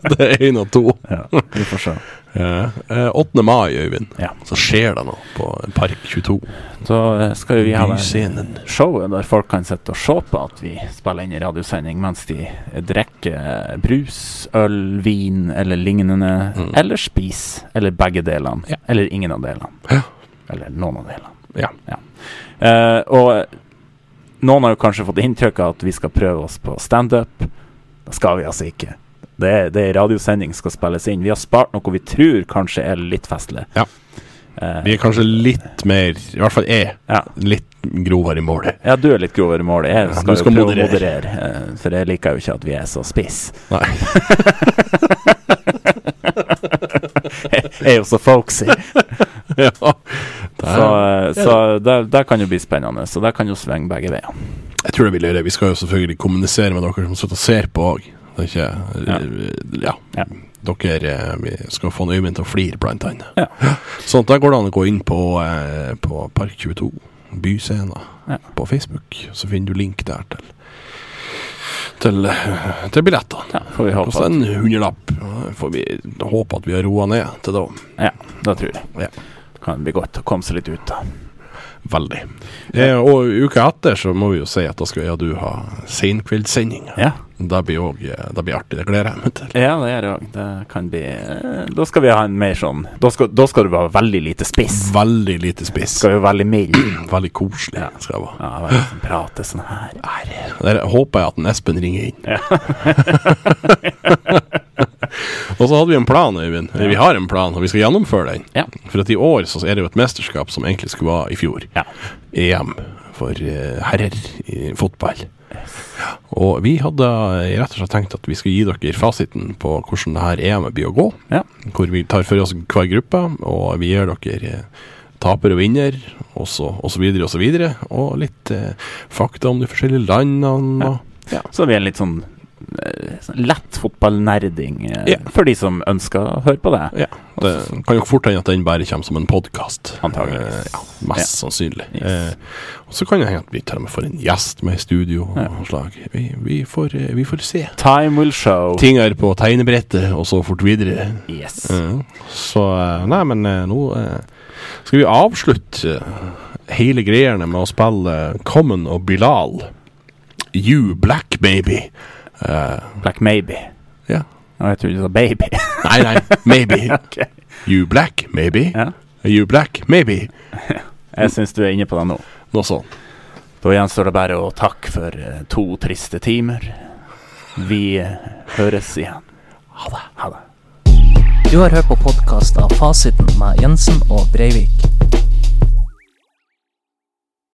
C: det er én av to.
D: Ja, vi får se.
C: Ja. Eh, 8. mai, Øyvind,
D: Ja.
C: så skjer det noe på Park 22.
D: Så eh, skal jo vi ha det
C: Byscenen.
D: showet der folk kan sitte og se på at vi spiller inn i radiosending mens de eh, drikker eh, brus, øl, vin eller lignende. Eller spiser. Eller begge delene.
C: Mm. Ja.
D: Eller ingen av delene.
C: Ja.
D: Eller noen av delene.
C: Ja.
D: Eh, og noen har jo kanskje fått inntrykk av at vi skal prøve oss på standup. Det skal vi altså ikke. Det er, det er radiosending skal spilles inn. Vi har spart noe vi tror kanskje er litt festlig.
C: Ja.
D: Eh,
C: Vi er kanskje litt mer I hvert fall jeg.
D: Ja.
C: Litt grovere i målet.
D: ja, du er litt grovere i målet. Jeg
C: Ja,
D: skal,
C: du skal
D: jo prøve
C: moderere.
D: å moderere, eh, for jeg liker jo ikke at vi er så spiss.
C: Nei.
D: Jeg er jo så folksy.
C: ja.
D: Så, eh, så det, det kan jo bli spennende. Så det kan jo svinge begge veier.
C: Jeg tror det blir løye. Vi skal jo selvfølgelig kommunisere med dere som sitter og ser på òg. Det er ikke Ja.
D: Ja.
C: Dere eh, vi skal få en Øyvind til å flire, blant annet.
D: Ja.
C: Sånn, der går det an å gå inn på, eh, på Park 22, Byscena,
D: Ja.
C: på Facebook. Så finner du link der til Til, eh, til billettene.
D: Ja, får vi håpe
C: Koster
D: at
C: en hundrelapp. Ja, Får vi håpe at vi har roa ned til da.
D: Ja, det tror jeg.
C: Ja.
D: Det kan bli godt å komme seg litt ut, da.
C: Veldig. Eh, og uka etter så må vi jo si at da skal jeg og du ha senkveldssending.
D: Ja.
C: Det blir òg Det blir artig. Det gleder jeg meg til.
D: Ja, det gjør det òg. Det kan bli eh, Da skal vi ha en mer sånn Da skal, da skal du være veldig lite spiss.
C: Veldig lite spiss.
D: Skal jo være veldig mild.
C: Veldig koselig. skal jeg være.
D: Ja, være sånn, prate sånn her.
C: Der håper jeg at en Espen ringer inn. og så hadde vi en plan, Øyvind. Eller, Vi har en plan, og vi skal gjennomføre den.
D: Ja.
C: For at i år så er det jo et mesterskap som egentlig skulle være i fjor.
D: Ja.
C: EM for eh, herrer i fotball. Og vi hadde eh, rett og slett tenkt at vi skulle gi dere fasiten på hvordan det her EM-et blir å gå.
D: Ja.
C: Hvor vi tar for oss hver gruppe, og vi gir dere eh, taper og vinner, og så og så videre og så videre. Og litt eh, fakta om de forskjellige landene. Og,
D: Så vi er litt sånn eh, sånn lett fotballnerding eh,
C: Ja.
D: for de som ønsker å høre på det.
C: Ja, det kan jo fort hende at den bare kommer som en podkast.
D: Antageligvis.
C: Eh, ja, mest
D: Ja.
C: sannsynlig.
D: Yes.
C: Eh, og så kan det hende at vi til og med får en gjest med i studio. og slag. Vi, vi, får, eh, vi får se.
D: Time will show.
C: Ting er på tegnebrettet, og så fort videre.
D: Yes.
C: Eh, så eh, Nei, men eh, nå eh, skal vi avslutte eh, hele greiene med å spille Common og Bilal. You Black Baby. Eh,
D: Black Maybe.
C: ja.
D: Og jeg tror du sa baby.
C: Nei, nei, maybe.
D: Ok.
C: You Black, maybe.
D: Ja.
C: You Black, maybe.
D: Jeg syns du er inne på det nå.
C: Noe sånt.
D: Da gjenstår det bare å takke for eh, to triste timer. Vi eh, høres igjen. Ha det. Ha det.
E: Du har hørt på podkast av Fasiten med Jensen og Breivik.